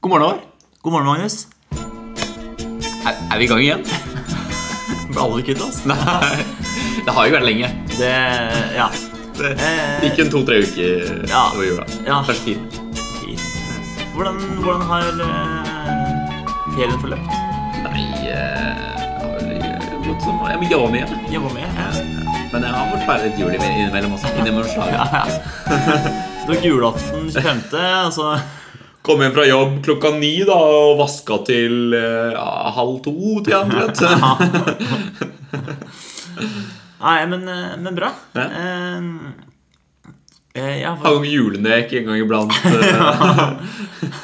God morgen, Håvard. God morgen, Magnus. Er, er vi i gang igjen? Ble aldri kvitt oss. Nei. Det har jo vært lenge. Det Ja. Eh, Ikke en to-tre uker Ja. over jula. Ja. Kanskje fire. Hvordan, hvordan har eh, ferien forløpt? Nei eh, som, Jeg må jobbe mye. Jobba med? Ja. Men jeg har fått feire litt jul innimellom også. Innimellom slaget. ja. Det var julaften altså. 25., og så Kom hjem fra jobb klokka ni da, og vaska til eh, ja, halv to. Til jeg, vet. Nei, men, eh, men bra. Ja. Eh, eh, jeg har Hang julenek en gang iblant. eh.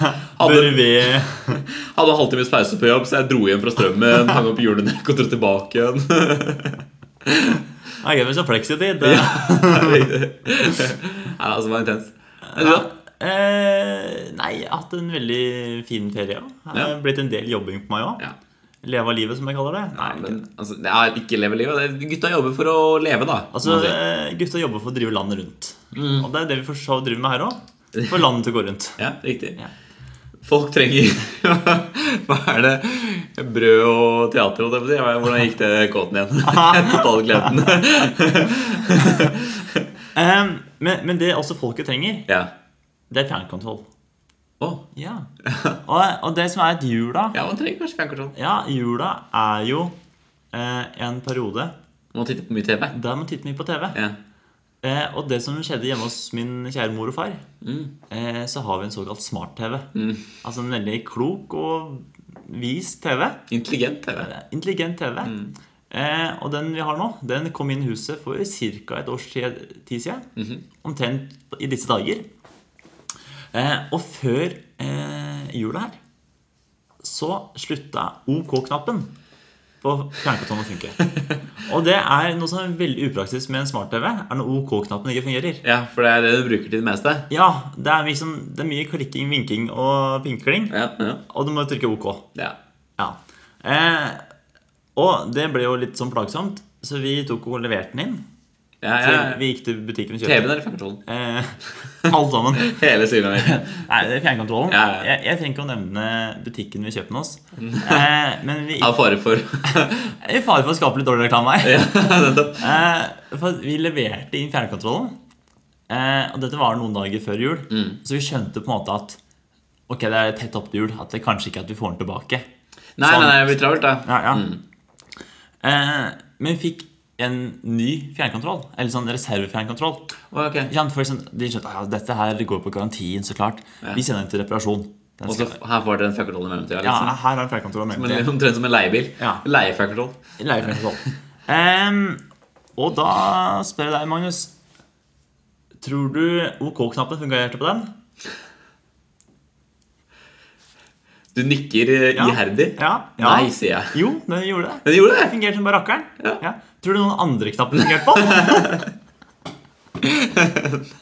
Hadde, Bør vi hadde en halvtimes pause på jobb, så jeg dro hjem fra strømmen, hang opp julenek og dro tilbake igjen. Jeg glemmer så fleksitid. Det- Ja. Nei, altså, det var intenst. Men du da? Eh, nei, jeg har hatt en veldig fin ferie. Ja. Det har blitt en del jobbing på meg òg. Ja. Leve av livet, som jeg kaller det. Nei, Men, altså, det er ikke leve livet. Det er- Gutta jobber for å leve, da. kan Altså, man si. Mm. eh, Gutta jobber for å drive landet rundt. Og det er det vi for så vidt driver med her òg. For landet til å gå rundt. Ja, riktig. Ja. Folk trenger Hva er det? Brød og teater? holdt jeg på å si. Hva- Hvordan gikk det kåten igjen? Totalkleden. Eh, men, men det også folket trenger, Ja. det er fjernkontroll. Å, Ja. Og, og det som er at jula ja, man trenger kanskje fjernkontroll. Ja, jula er jo eh, en periode Man titter på mye TV. der man titter mye på TV. Ja. Eh, og det som skjedde hjemme hos min kjære mor og far, Mm. eh, så har vi en såkalt smart-TV. Altså en veldig klok og vis TV. Intelligent TV. Eh, Intelligent TV. Eh, og den vi har nå, den kom inn i huset for ca. et års tid tid siden. Omtrent i disse dager. Eh, og før eh, jula her så slutta OK-knappen på fjernkontrollen å funke. og det er noe som er veldig upraktisk med en smart-TV, er når OK-knappen ikke fungerer. Ja, for det er det du bruker til det meste. Ja, det er, liksom, det er mye klikking, vinking og pinkling, Ja, ja. og du må trykke OK. ja. Ja. Eh, og det ble jo litt sånn plagsomt, så vi tok og leverte den inn. ja, Til, ja. Vi gikk til butikken og TV-en kjøpte den. eller fjernkontrollen? Eh, alt sammen. Hele syna mi. Nei, det er fjernkontrollen. Ja, Mm. ja. Jeg, jeg trenger ikke å nevne butikken vi kjøpte den hos. Eh, men vi Av fare for i fare for å skape litt dårlig reklame her. Ja, nettopp. Eh, for vi leverte inn fjernkontrollen, eh, og dette var noen dager før jul. Mm. Så vi skjønte på en måte at ok, det er tett opp til jul, at det kanskje ikke er at vi får den tilbake. Nei, nei, nei, det blir travelt, da. Ja, ja. Mm. Eh, men vi fikk en ny fjernkontroll, eller sånn reservefjernkontroll. Å, ok. Ikke sant? For eksempel, de skjønte at ja, dette her går på garantien, så klart. Vi sender den til reparasjon. Den Og så skal, her får dere en fjernkontroll i mellomtida. ja, Liksom. her er en fjernkontroll. med Men det. Omtrent som en leiebil. Ja. Leiefjernkontroll. Leiefjernkontroll. Em, og da spør jeg deg, Magnus. Tror du OK-knappen fungerte på den? Du nikker eh, Ja. iherdig. Ja, ja. Nei, sier jeg. Jo, den gjorde det. Men du gjorde det! Fungerte som bare rakkeren. Ja. Tror du noen andre knapper fungerte på?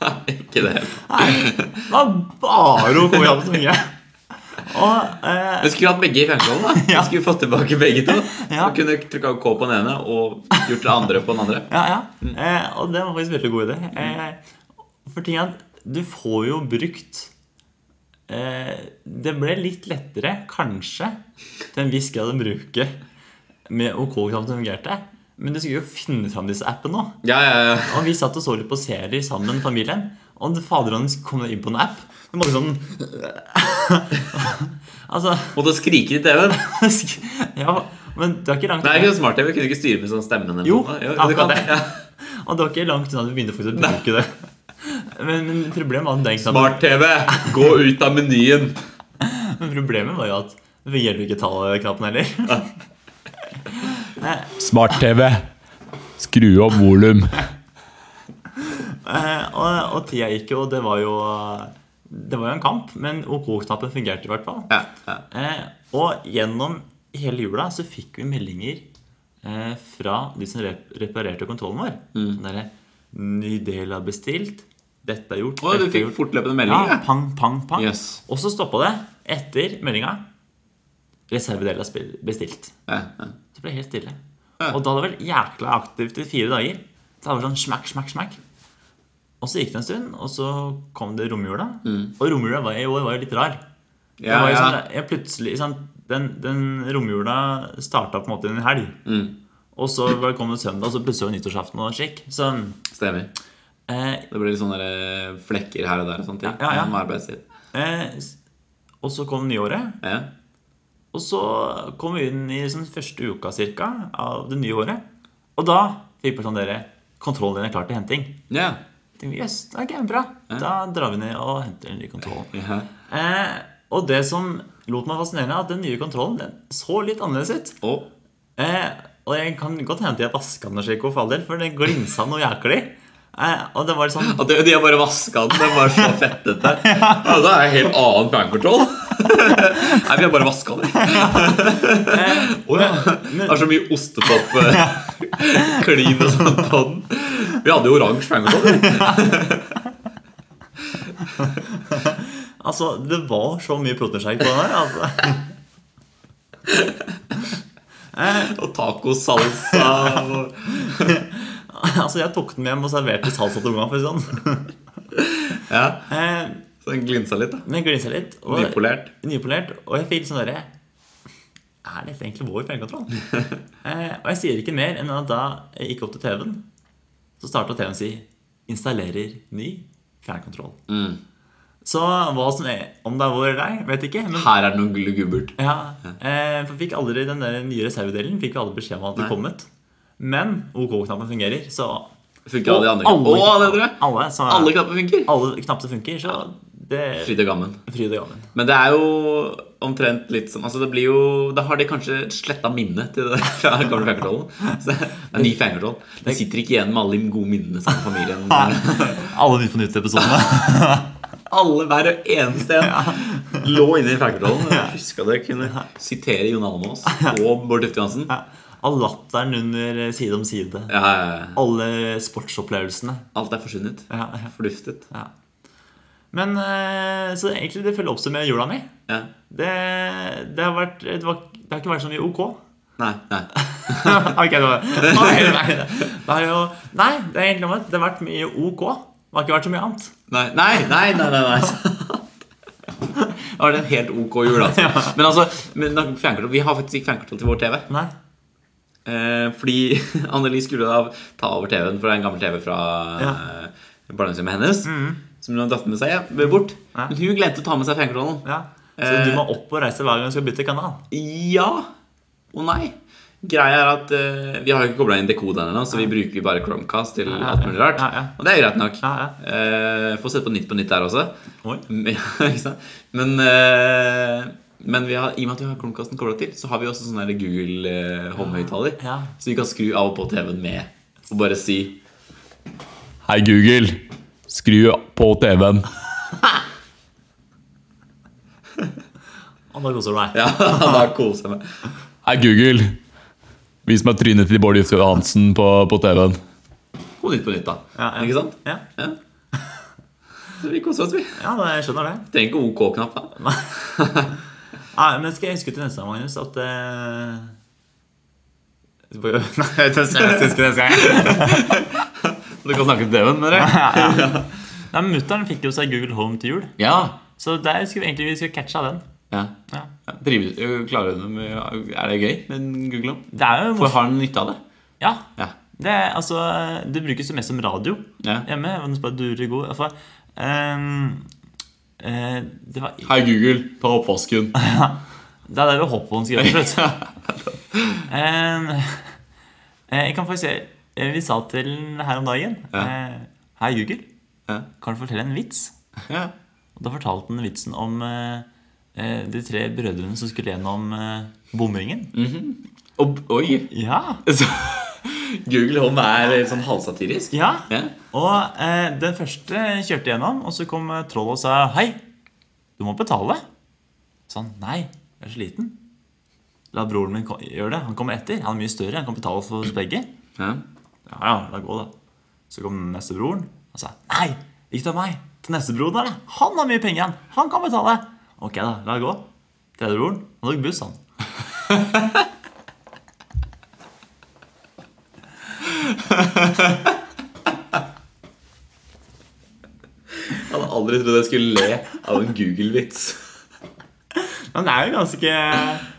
Nei, ikke det. Nei, det var bare OK knappen som fungerte. Og eh, Men skulle hatt begge i fjernkontrollen. da Ja. Skulle fått tilbake begge to. Ja. Og kunne trykka K på den ene og gjort det andre på den andre. Ja, ja. Eh, og det var faktisk en veldig god idé. Eh, for ting er at du får jo brukt eh, Det ble litt lettere, kanskje, til en viss grad å bruke med OK-krav som fungerte. Men du skulle jo finne fram disse appene nå. Ja, ja, ja. Og vi satt og så litt på serier sammen, familien. Og faderen hans kom inn på en app. Du måtte sånn Altså Måtte skrike til TV-en. Ja, men det er ikke langt Nei, ikke så smart TV. Kunne ikke styre med sånn stemmen. eller Jo, noe. du akkurat kan det. Og det var ikke langt unna at vi begynte faktisk å bruke det. Men, men problemet var at den knappen- Smart-TV, gå ut av menyen! men problemet var jo at det gjelder ikke tallknappen heller. Smart-TV. Skru opp volum. Eh, Og, og tida gikk jo, og det var jo Det var jo en kamp, men OK-knappen fungerte i hvert fall. Ja, ja. Eh, Og gjennom hele jula så fikk vi meldinger eh, fra de som rep reparerte kontrollen vår. Mm. Sånn derre Ny del er bestilt. Dette er gjort. Å, du dette er fikk gjort. fortløpende Ja, meldinger. pang, pang, pang. Yes. Og så stoppa det etter meldinga. Reservedeler er spe- bestilt. Ja. Ja, Så ble det helt stille. Ja. Og da hadde det vært jækla aktivt i fire dager. Da var det sånn smakk, smakk, smakk. Mm. Og så gikk det en stund, og så kom det romjula. Og romjula var, i år var jo litt rar. Det Ja, var jo ja. sånn, jeg plutselig, sånn, den, den romjula starta på en måte en helg. Mm. Og så var- kom det søndag, og så plutselig var det nyttårsaften og slik. Så Stemmer. eh, Det blir litt sånne der, eh, flekker her og der og sånne ting. Ja, ja, ja. Med arbeidstid. eh, s- Og så kom nyåret. Ja. Og så kom vi inn i liksom, første uka cirka, av det nye året. Og da fikk vi sånn dere kontrollen din er klar til henting. ja. Jeg tenkte, Jøss, yes, ok, bra. Da drar vi ned og henter den nye kontrollen. ja. Eh, og det som lot meg fascinere, er at den nye kontrollen den så litt annerledes ut. Og Eh, og jeg kan godt hende at jeg vaska den og slik, for all del, for den glinsa noe jæklig. Eh, og det var sånn at de de har bare vaska den. Den var så fettete. Ja, det er en helt annen fjernkontroll. Nei, vi har bare vaska den. Eh, Å ja. Det er så mye ostetopp eh, klin og sånt på den. Vi hadde jo oransje fjernkontroll. Altså, det var så mye proteinshake på den her. Altså. Og tacosalsa og altså, jeg tok den med hjem og serverte salsa til ungene. for å si det Sånn. Ja, Eh, så den glinsa litt, da. Den glinsa litt. Og, Nypolert. Nypolert. Og jeg fikk litt sånn derre Er dette egentlig vår fjernkontroll? eh, og jeg sier ikke mer enn at da jeg gikk opp til TV-en, så starta TV-en si 'Installerer ny fjernkontroll'. Så hva som er, om det er vår eller ei, vet ikke. Men Her er det noe glugubbert. ja, eh, for fikk aldri den der nye reservedelen. Fikk vi aldri beskjed om at det Nei. kommet. Men OK-knappen fungerer, så Funka alle de andre? alle, Å, det dere? alle, så, Alle alle, knapper funker? knapper funker, så det er Fryd og gammen. fryd og gammen. Men det er jo omtrent litt sånn altså det blir jo, Da har de kanskje sletta minnet til det fra den gamle fjerkontrollen. Så det er ny fjernkontroll. De sitter ikke igjen med alle de gode minnene sammen med familien. Alle Nytt på nytt-episodene. Alle hver eneste en lå inne i fjernkontrollen. Jeg huska det. Kunne sitere Jon Almaas og Bård Tufte Johansen. Ja, Ja. All latteren under Side om side. ja, ja. Alle sportsopplevelsene. Alt er forsvunnet. Ja, ja. Forduftet. Men eh, Så egentlig det følger opp som med jula mi. Ja. Det, det, har vært, det, var, det har ikke vært så mye OK. Nei. nei ok, det var Nei, nei, det har jo Nei, det er egentlig om at det har vært mye OK. Det har ikke vært så mye annet. Nei, nei, nei, nei, nei, nei. sant. Da var det en helt ok jul, altså. Men altså, men da- fjernkontroll- vi har faktisk ikke fjernkontroll til vår TV. Nei. Eh, fordi Anneli skulle da ta over TV-en, for det er en gammel TV fra Ja. Mm. eh, barndomshjemmet hennes. Som hun har dratt med seg ja, bort. Ja. Men hun glemte å ta med seg fjernkontrollen. Ja. Så Eh. du må opp og reise hver gang du skal bytte kanal? Ja og nei. Greia er at eh, Vi har jo ikke kobla inn dekoderen ennå, så vi bruker bare Chromecast til ja, alt mulig rart. ja, ja. Og det er greit nok. Ja, ja. Eh, Få sett på Nytt på Nytt der også. Oi. Men, ja, ikke sant? men, eh, men vi har, i og med at vi har Chromecasten kobla til, så har vi også sånn der Google eh, Home-høyttaler. Ja. Så vi kan skru av og på TV-en med og bare si Hei, Google. Skru på TV-en. Og da koser du deg? Ja, da koser jeg meg. Hei, Google. Vis meg trynet til Bård Juffe Hansen på, på TV-en. God Nytt på Nytt, da. Ja, ja. Ikke sant? Ja. Ja. Så vi koser oss, vi. ja, da- jeg skjønner det. Trenger ikke OK-knapp, da. Nei, men skal jeg huske til neste gang, Magnus, at eh, Nei, jeg skal huske neste gang. Du kan snakke til TV-en, dere. Nei, Mutter'n fikk jo seg Google Home til jul, Ja. så der skulle vi egentlig vi skulle catcha den. ja. Ja. Ja, Trives, klarer du det med Er det gøy med Google Home? Det er jo For morsomt. har du nytte av det? Ja. Ja. Det, er, altså, det brukes jo mest som radio Ja. hjemme. og den spør, du, du, er god. For, eh, eh, det var Hei, Google. Ta oppvasken. Det er det vi håper hun skal gjøre til slutt. Em, Ehm, eh, jeg kan faktisk si eh, Vi sa til den her om dagen eh, Hei, Google. Ja. Kan du fortelle en vits? Ja. Og da fortalte den vitsen om eh, eh, de tre brødrene som skulle gjennom eh, bomringen. Og, oi. Ja, Så, Google Home er litt sånn halvsatirisk. ja. Ja. Og eh, den første kjørte gjennom, og så kom eh, trollet og sa Hei, du må betale. Så han nei, jeg er så liten. La broren min ko- gjøre det. Han kommer etter. Han er mye større. Han kan betale for oss begge. Ja. Ja, ja, la gå, da. Så kom den neste broren og sa nei, ikke ta meg. Til neste broren der, da. Han har mye penger, han. Han kan betale. Ok, da. La gå. Tredje broren, han tok buss, han. Jeg hadde aldri trodd jeg skulle le av en Google-vits. Men det er jo ganske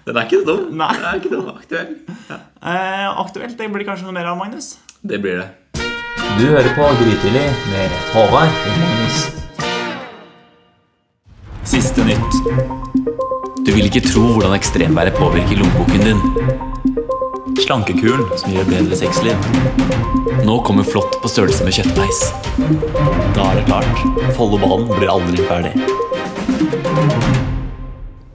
Den er ikke dum. Nei. Den er ikke dum aktuell. eh, aktuelt. Det blir kanskje noe mer av Magnus. Det blir det. Du hører på Grytidlig med Håvard og Magnus. Siste nytt. Du vil ikke tro hvordan ekstremværet påvirker lommeboken din. Slankekuren som gjør bedre sexliv. Nå kommer flått på størrelse med kjøttdeis. Da er det klart. Follobanen blir aldri ferdig.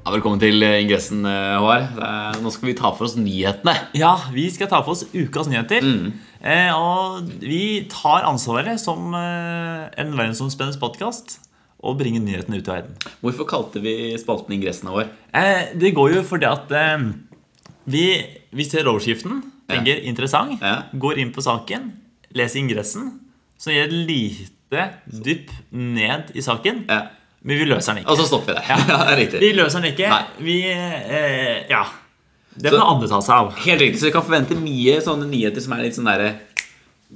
Ja, velkommen til eh, ingressen, eh, Håvard. Det er- Nå skal vi ta for oss nyhetene. Ja, vi skal ta for oss ukas nyheter. Mm. Eh, og vi tar ansvaret som eh, en verdensomspennende podkast og bringer nyhetene ut i verden. Hvorfor kalte vi spalten ingressen vår? Eh, det går jo fordi at eh, vi, vi ser overskriften, tenker interessant, Ja. går inn på saken, leser ingressen, som gir et lite dypp ned i saken, Ja. men vi løser den ikke. Og så stopper vi det. Ja, riktig. vi løser den ikke. Nei. Vi eh, Ja. Det Så- får andre ta seg av. Helt riktig, så vi kan forvente mye sånne nyheter som er litt sånn derre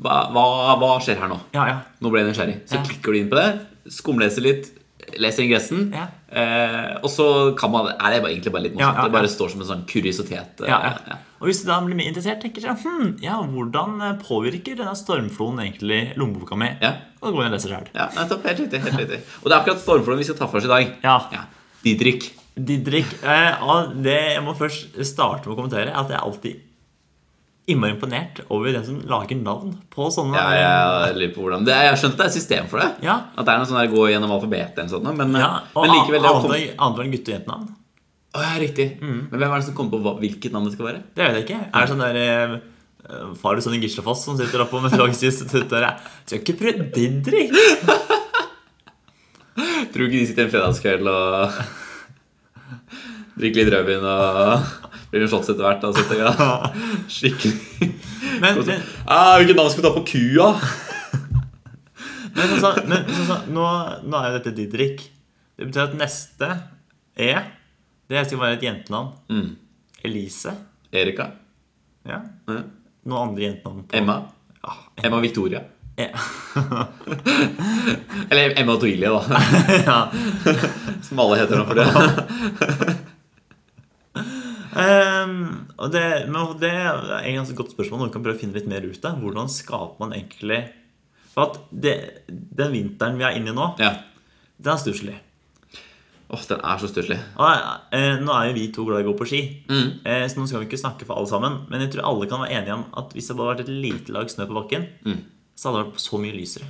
hva, hva, hva skjer her nå? Ja, ja. Nå ble jeg nysgjerrig. Så Ja. klikker du inn på det, skumleser litt, leser ingressen, Ja. eh, og så kan man, er det bare, egentlig bare litt morsomt. Ja, ja, Det bare står som en sånn kuriositet. eh, Ja, ja. Og hvis du da blir mer interessert, tenker jeg hm, ja, hvordan påvirker denne stormfloen egentlig lommeboka mi? Ja. Og da går jeg og leser sjøl. Ja, nettopp. Helt riktig. helt riktig Og det er akkurat stormfloen vi skal ta for oss i dag. Ja. Didrik. Didrik, eh, og det, jeg må først starte med å kommentere at jeg er alltid innmari imponert over den som lager navn på sånne Ja, jeg lurer på hvordan det er, Jeg har skjønt at det er system for det. Ja. At det er noe sånn der gå gjennom alfabetet eller sånt, noe, men, eh, Ja, og men likevel det å komme... andre, andre enn gutte- og jentenavn. Å, ja, Riktig. Mm. Men hvem er det som kommer på hva, hvilket navn det skal være? Det vet jeg ikke. Er det sånn der eh, eh, far og sønn i Gislafoss som sitter oppe på Meteorologisk institutt der? eh, Skal ikke prøve Didrik? Tror du ikke de sitter en fredagskveld og drikker litt rødvin og blir en shots etter hvert? Da, sitter jeg og- Skikkelig Men, men, ah, Hvilket navn skal vi ta på kua? Men sånn, som- men sånn, som- nå, nå er jo dette Didrik. Det betyr at neste E Det skal være et jentenavn. Mm. Elise. Erika? Ja. Ja. Noen andre jentenavn. på- Emma? Ja, Emma Victoria? E- Eller Emma Toilie, da. Som alle heter nå for det. Ehm, og det, men det er et ganske godt spørsmål. Noen kan prøve å finne litt mer ut av Hvordan skaper man egentlig For at det, den vinteren vi er inne i nå, Ja. den er stusslig. Åh, Den er så stusslig. Og, eh, nå er jo vi to glad i å gå på ski, Mm. eh, så nå skal vi ikke snakke for alle sammen. Men jeg tror alle kan være enige om at hvis det hadde vært et lite lag snø på bakken, så hadde det vært så mye lysere.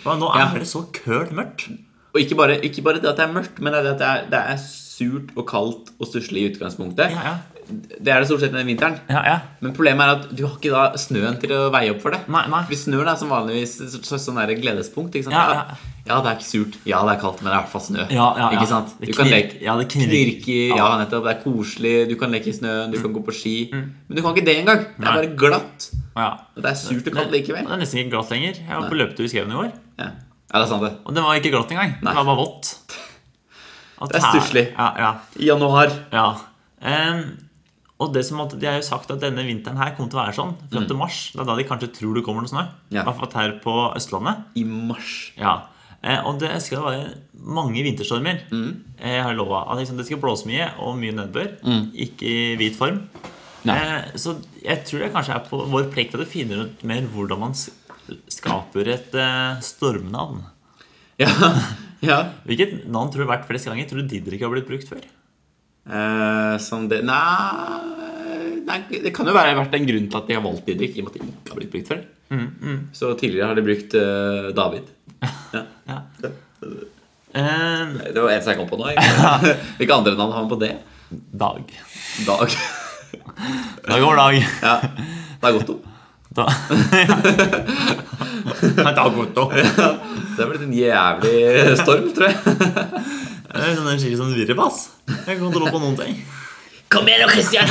For nå er Mm. Ja. det så køl mørkt. Og ikke bare, ikke bare det at det er mørkt, men det er, det at det er, det er surt og kaldt og stusslig i utgangspunktet. Ja, ja. Det er det stort sett den vinteren. Ja, ja. Men problemet er at du har ikke da snøen til å veie opp for det. Nei, nei. Fordi snøen er som vanligvis så, så, sånn der gledespunkt. Ikke sant? Ja, ja. ja, det er ikke surt. Ja, det er kaldt, men det er i hvert fall snø. Ja, ja, ja. Ikke sant? Det Du kan knirk- leke ja, det knirker. knirke, ja. Ja. Mm. nettopp. Det er koselig, du kan leke i snøen, du kan gå på ski. Men du kan ikke det engang. Det Nei. er bare glatt. ja. Og det er surt og Det, kaldt likevel. det er nesten ikke glatt lenger. Jeg var på løpetur i Skauen i går, Ja, ja det er sant, det. og den var ikke glatt engang. Nei. Den var bare vått. At Det er her- stusslig. Ja, ja, I januar. ja. Ehm, og det som at de har jo sagt at denne vinteren her kommer til å være sånn fram til mars. Det er da de kanskje tror det kommer noe snø. I Mm. Ja. hvert fall her på Østlandet. I mars. Ja, eh, og det skal være mange vinterstormer. Mm. Eh, Jeg har lova at liksom, det skal blåse mye og mye nedbør. Mm. Ikke i hvit form. Eh, så jeg tror det kanskje er på vår plikt at vi finner ut mer hvordan man s- skaper et eh, stormnavn. Ja. ja. Hvilket navn tror du har vært flest ganger? Tror du Didrik har blitt brukt før? Eh, som det Nei nei, Det kan jo være vært en grunn til at de har valgt Didrik, i og med at de ikke har blitt brukt før. Så tidligere har de brukt eh, David. Eh, Det var eneste jeg kom på nå. egentlig. Hvilke andre navn har man på det? dag. Dag. Dag over dag. Ja. Dag Otto. Da. dag Otto. Det har blitt en jævlig storm, tror jeg. Det er sånn en skikkelig sånn virrebass. Jeg kan ikke holde på noen ting. Kom igjen, Christian!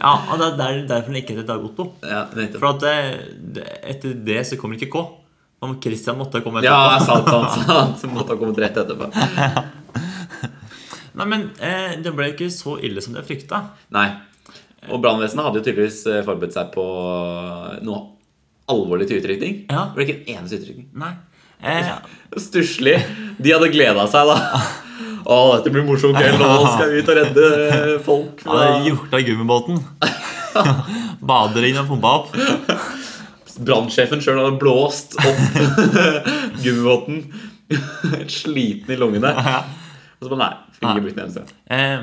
Ja, og det er der- derfor den ikke heter Dag Otto. Ja, nettopp. For at det, det, etter det så kommer ikke K. Om Christian måtte komme ja, etterpå. sant, sant. sant Så måtte ha kommet rett etterpå. Nei, men eh, det ble ikke så ille som jeg frykta. Nei. Og brannvesenet hadde jo tydeligvis eh, forberedt seg på eh, noe alvorlig til utrykning. Ja. Det ble ikke en eneste utrykning. Nei. Eh, Stusslig. De hadde gleda seg, da. Å, Å, dette blir morsomt kveld, nå skal vi ut og redde eh, folk. Ja, det Hjorta i gummibåten. Bader inn og pumpa opp. Brannsjefen sjøl hadde blåst opp gummibåten. Sliten i lungene. Og så bare nei. fikk ikke brukt en eneste. Eh,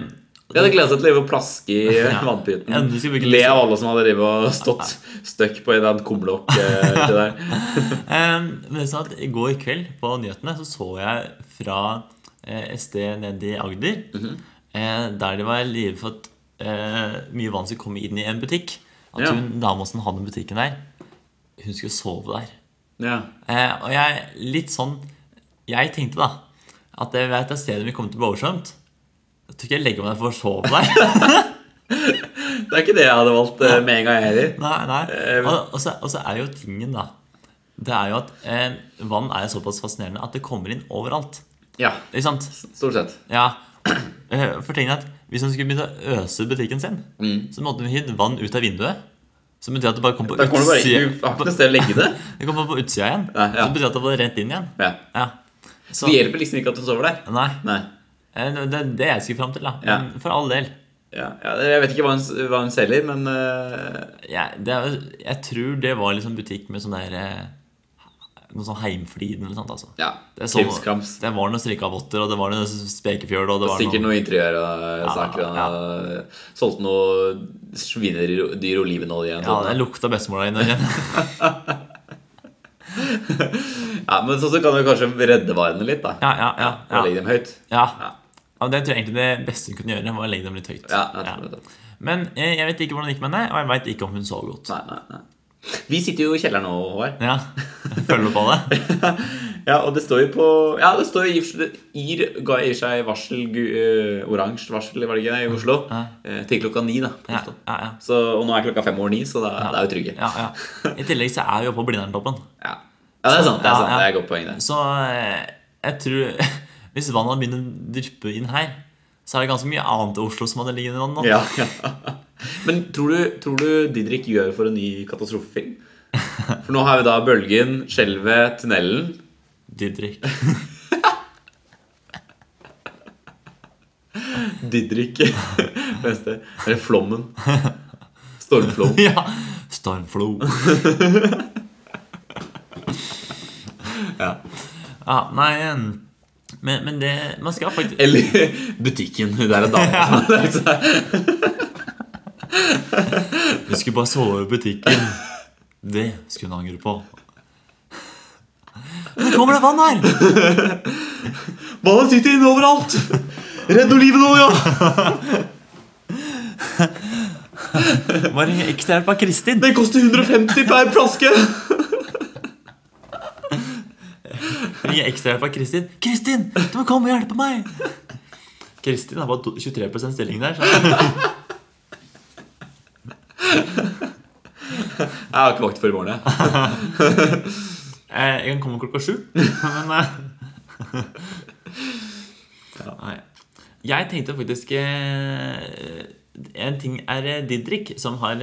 De hadde gleda seg til å leve og plaske i vannpyten. Ja, du skulle bruke Le lyset. av alle som hadde drevet og stått støkk på en eller annen kumlokk. eh, til der. eh, men jeg sa at I går kveld på nyhetene så, så jeg fra eh, et sted nede i Agder eh, der det var livet for at eh, mye vann skulle komme inn i en butikk. At Ja. hun dama som hadde butikken der, hun skulle sove der. Ja. Eh, og jeg litt sånn Jeg tenkte da at jeg vet at stedet vi kommer til å bli oversvømt. Jeg tror ikke jeg legger meg for å sove der. Det er ikke det jeg hadde valgt eh, med en gang, jeg heller. nei, nei. Og, og, så, og så er jo tingen, da Det er jo at eh, vann er jo såpass fascinerende at det kommer inn overalt. Ja, Ikke sant? stort sett. Ja. Eh, For tenk deg at hvis man skulle begynne å øse ut butikken sin, så måtte man hive vann ut av vinduet. Som betyr at det bare kom på Mm. Da kommer du bare ikke, du utsida, har ikke noe sted å legge det. det kom bare på utsida igjen. Nei, ja. Så betyr at det var rent inn igjen. Ja. Ja. Så, Det hjelper liksom ikke at du sover der. nei. Nei. Eh, Det det er det jeg skulle fram til, da. Ja. Men for all del. Ja, ja, jeg vet ikke hva hun, hva hun selger, men eh, Jeg, det er, jo- jeg tror det var liksom butikk med sånn der eh, Noe sånn heimfliden eller sånt, altså. ja. Det, er sånn, Krimskrams. det var noen strikkavotter, og det var noe spekefjøl, og det var Sikkert noe noe interiørsaker. Ja, ja. Ja, Solgte noe svinedyr olivenolje. Ja, Ja, det lukta bestemor der inne igjen. ja, men sånn så kan du kanskje redde varene litt, da. Ja, ja, ja. Og ja. legge dem høyt. ja. ja det tror jeg egentlig det beste hun kunne gjøre, var å legge dem litt høyt. Ja, jeg tror Ja. det. Men eh, jeg vet ikke hvordan det gikk med henne, og jeg veit ikke om hun sov godt. Nei, nei, nei. Vi sitter jo i kjelleren nå, Håvard. Ja, Følger du på det? Ja, og det står jo på Ja, det står jo i og for seg- IR ga i seg varsel, gu- eh, oransje varsel, var det ikke det, i Oslo? eh, Til klokka ni, da. på Ja, Oslo. ja, ja. Så, og nå er klokka fem over ni, så da, det er jo trygge. ja, ja. I tillegg så er vi oppe på Blinderntoppen. Ja. ja, det er sant. Det er, Ja, sant. ja. Det er et godt poeng, det. Så eh, jeg tror Hvis vannet hadde begynt å dryppe inn her, så er det ganske mye annet i Oslo som hadde ligget under vann nå. Ja, Men tror du, tror du Didrik gjør for en ny katastrofefilm? For nå har vi da bølgen, skjelvet, tunnelen. Didrik. Didrik beste. Eller flommen. Stormflom. Ja. Stormflo. Ja. Ja, nei em, men, men det Man skal faktisk Eller butikken. Der er dama. Vi skulle bare sove i butikken. Det skulle hun angre på. Nå kommer det vann her! Ballen sitter inne overalt! Redd olivenolja! Bare ring ekstrahjelp av Kristin. Den koster 150 per flaske! Ring ekstrahjelp av Kristin. Kristin, du må komme og hjelpe meg! Kristin har bare to- 23 stilling der. Så. Jeg har ikke vakt før i morgen. jeg. Eh, Jeg kan komme klokka sju. Men eh. Nei. Jeg tenkte faktisk eh, En ting er eh, Didrik, som har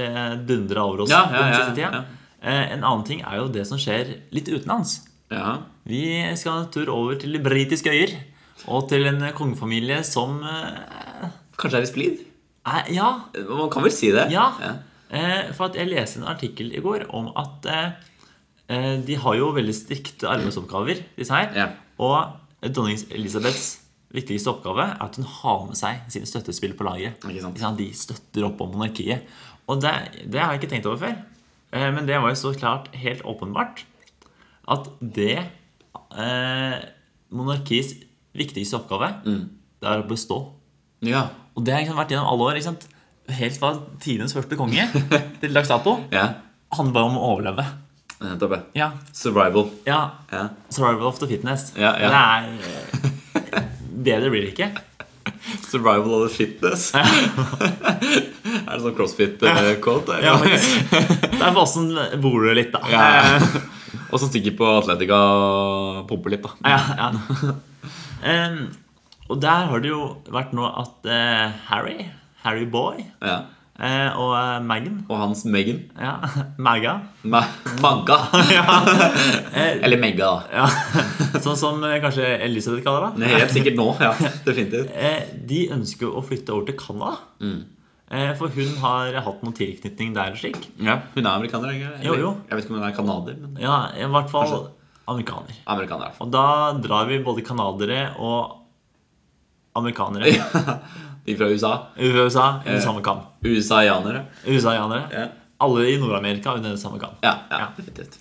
dundra over oss Ja, ja, den ja, siste tida. ja. Eh, En annen ting er jo det som skjer litt utenlands. Ja. Vi skal en tur over til de britiske øyer. Og til en kongefamilie som eh, Kanskje er i splid? er Ja. Man kan vel si det? ja. Eh, For at jeg leste en artikkel i går om at eh, eh, de har jo veldig strikte arbeidsoppgaver, disse her. Ja. Og dronning Elisabeths viktigste oppgave er at hun har med seg sine støttespill på laget. Ikke sant. De støtter opp om monarkiet. Og det, det har jeg ikke tenkt over før. Eh, Men det var jo så klart helt åpenbart at det eh, Monarkiets viktigste oppgave Mm. Det er å bestå. Ja. Og det har liksom vært gjennom alle år. ikke sant? Helt fra tidenes første konge til dags dato. ja. handler bare om å overleve. Nettopp. ja. Ja, Survival. ja Ja. Survival of the fitness. Ja, ja. Det er eh, Bedre blir det ikke. Survival of the fitness. er det sånn crossfit-quote? Ja, men Det er for åssen bor du litt, da. Og så stikker på Atletica og pumper litt, da. Ja, ja. Em, og der har det jo vært nå at eh, Harry, Harry Boy, Ja. eh, og eh, Maggen. Og hans Megan. Ja, Magga. Ma Magga. Eh, Eller Megga, da. ja. Sånn som eh, kanskje Elisabeth kaller det. Det er Helt sikkert nå. ja, Definitivt. Eh, de ønsker å flytte over til Canada. Mm. Eh, for hun har hatt noen tilknytning der eller slik. Ja, Hun er amerikaner? ikke? Eller, Jo, jo. Jeg vet ikke om hun er canadier, men Ja, i hvert fall amerikaner. amerikaner. i hvert fall. Og da drar vi både canadere og amerikanere De fra USA. USA Eh. under samme kam. Usaianere. USA-janere. Ja. Alle i Nord-Amerika under samme kam. Ja, ja, definitivt.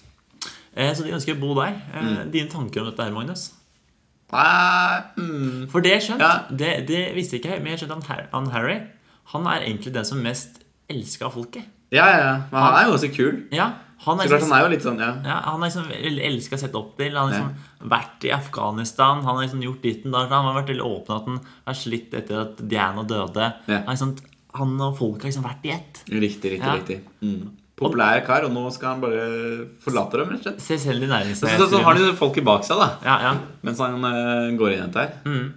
Eh, så de ønsker å bo der. Eh, Mm. Dine tanker om dette her, Magnus? Nei, mm, For det jeg skjønt, Ja. det, det visste ikke jeg, men jeg skjønte han, Har- han Harry Han er egentlig den som mest elsker av folket. ja, ja, ja. Men han er jo ganske kul. Ja, han Så er, klart liksom, han er jo litt sånn, ja. ja, han er liksom vel- elska sett opp til. Han har liksom vært i Afghanistan, han har liksom gjort ditten der. Han har vært veldig åpen at han er slitt etter at Diana døde. Ja. Han, er liksom, han og folket har liksom vært i ett. Riktig, riktig. Ja. riktig mm. Populær kar, og nå skal han bare forlate dem, rett og slett. Selvstendig Så, så, så har næringsdrivende. de folket bak seg, da. Ja, ja. Mens han eh, går inn i dette her. Mm.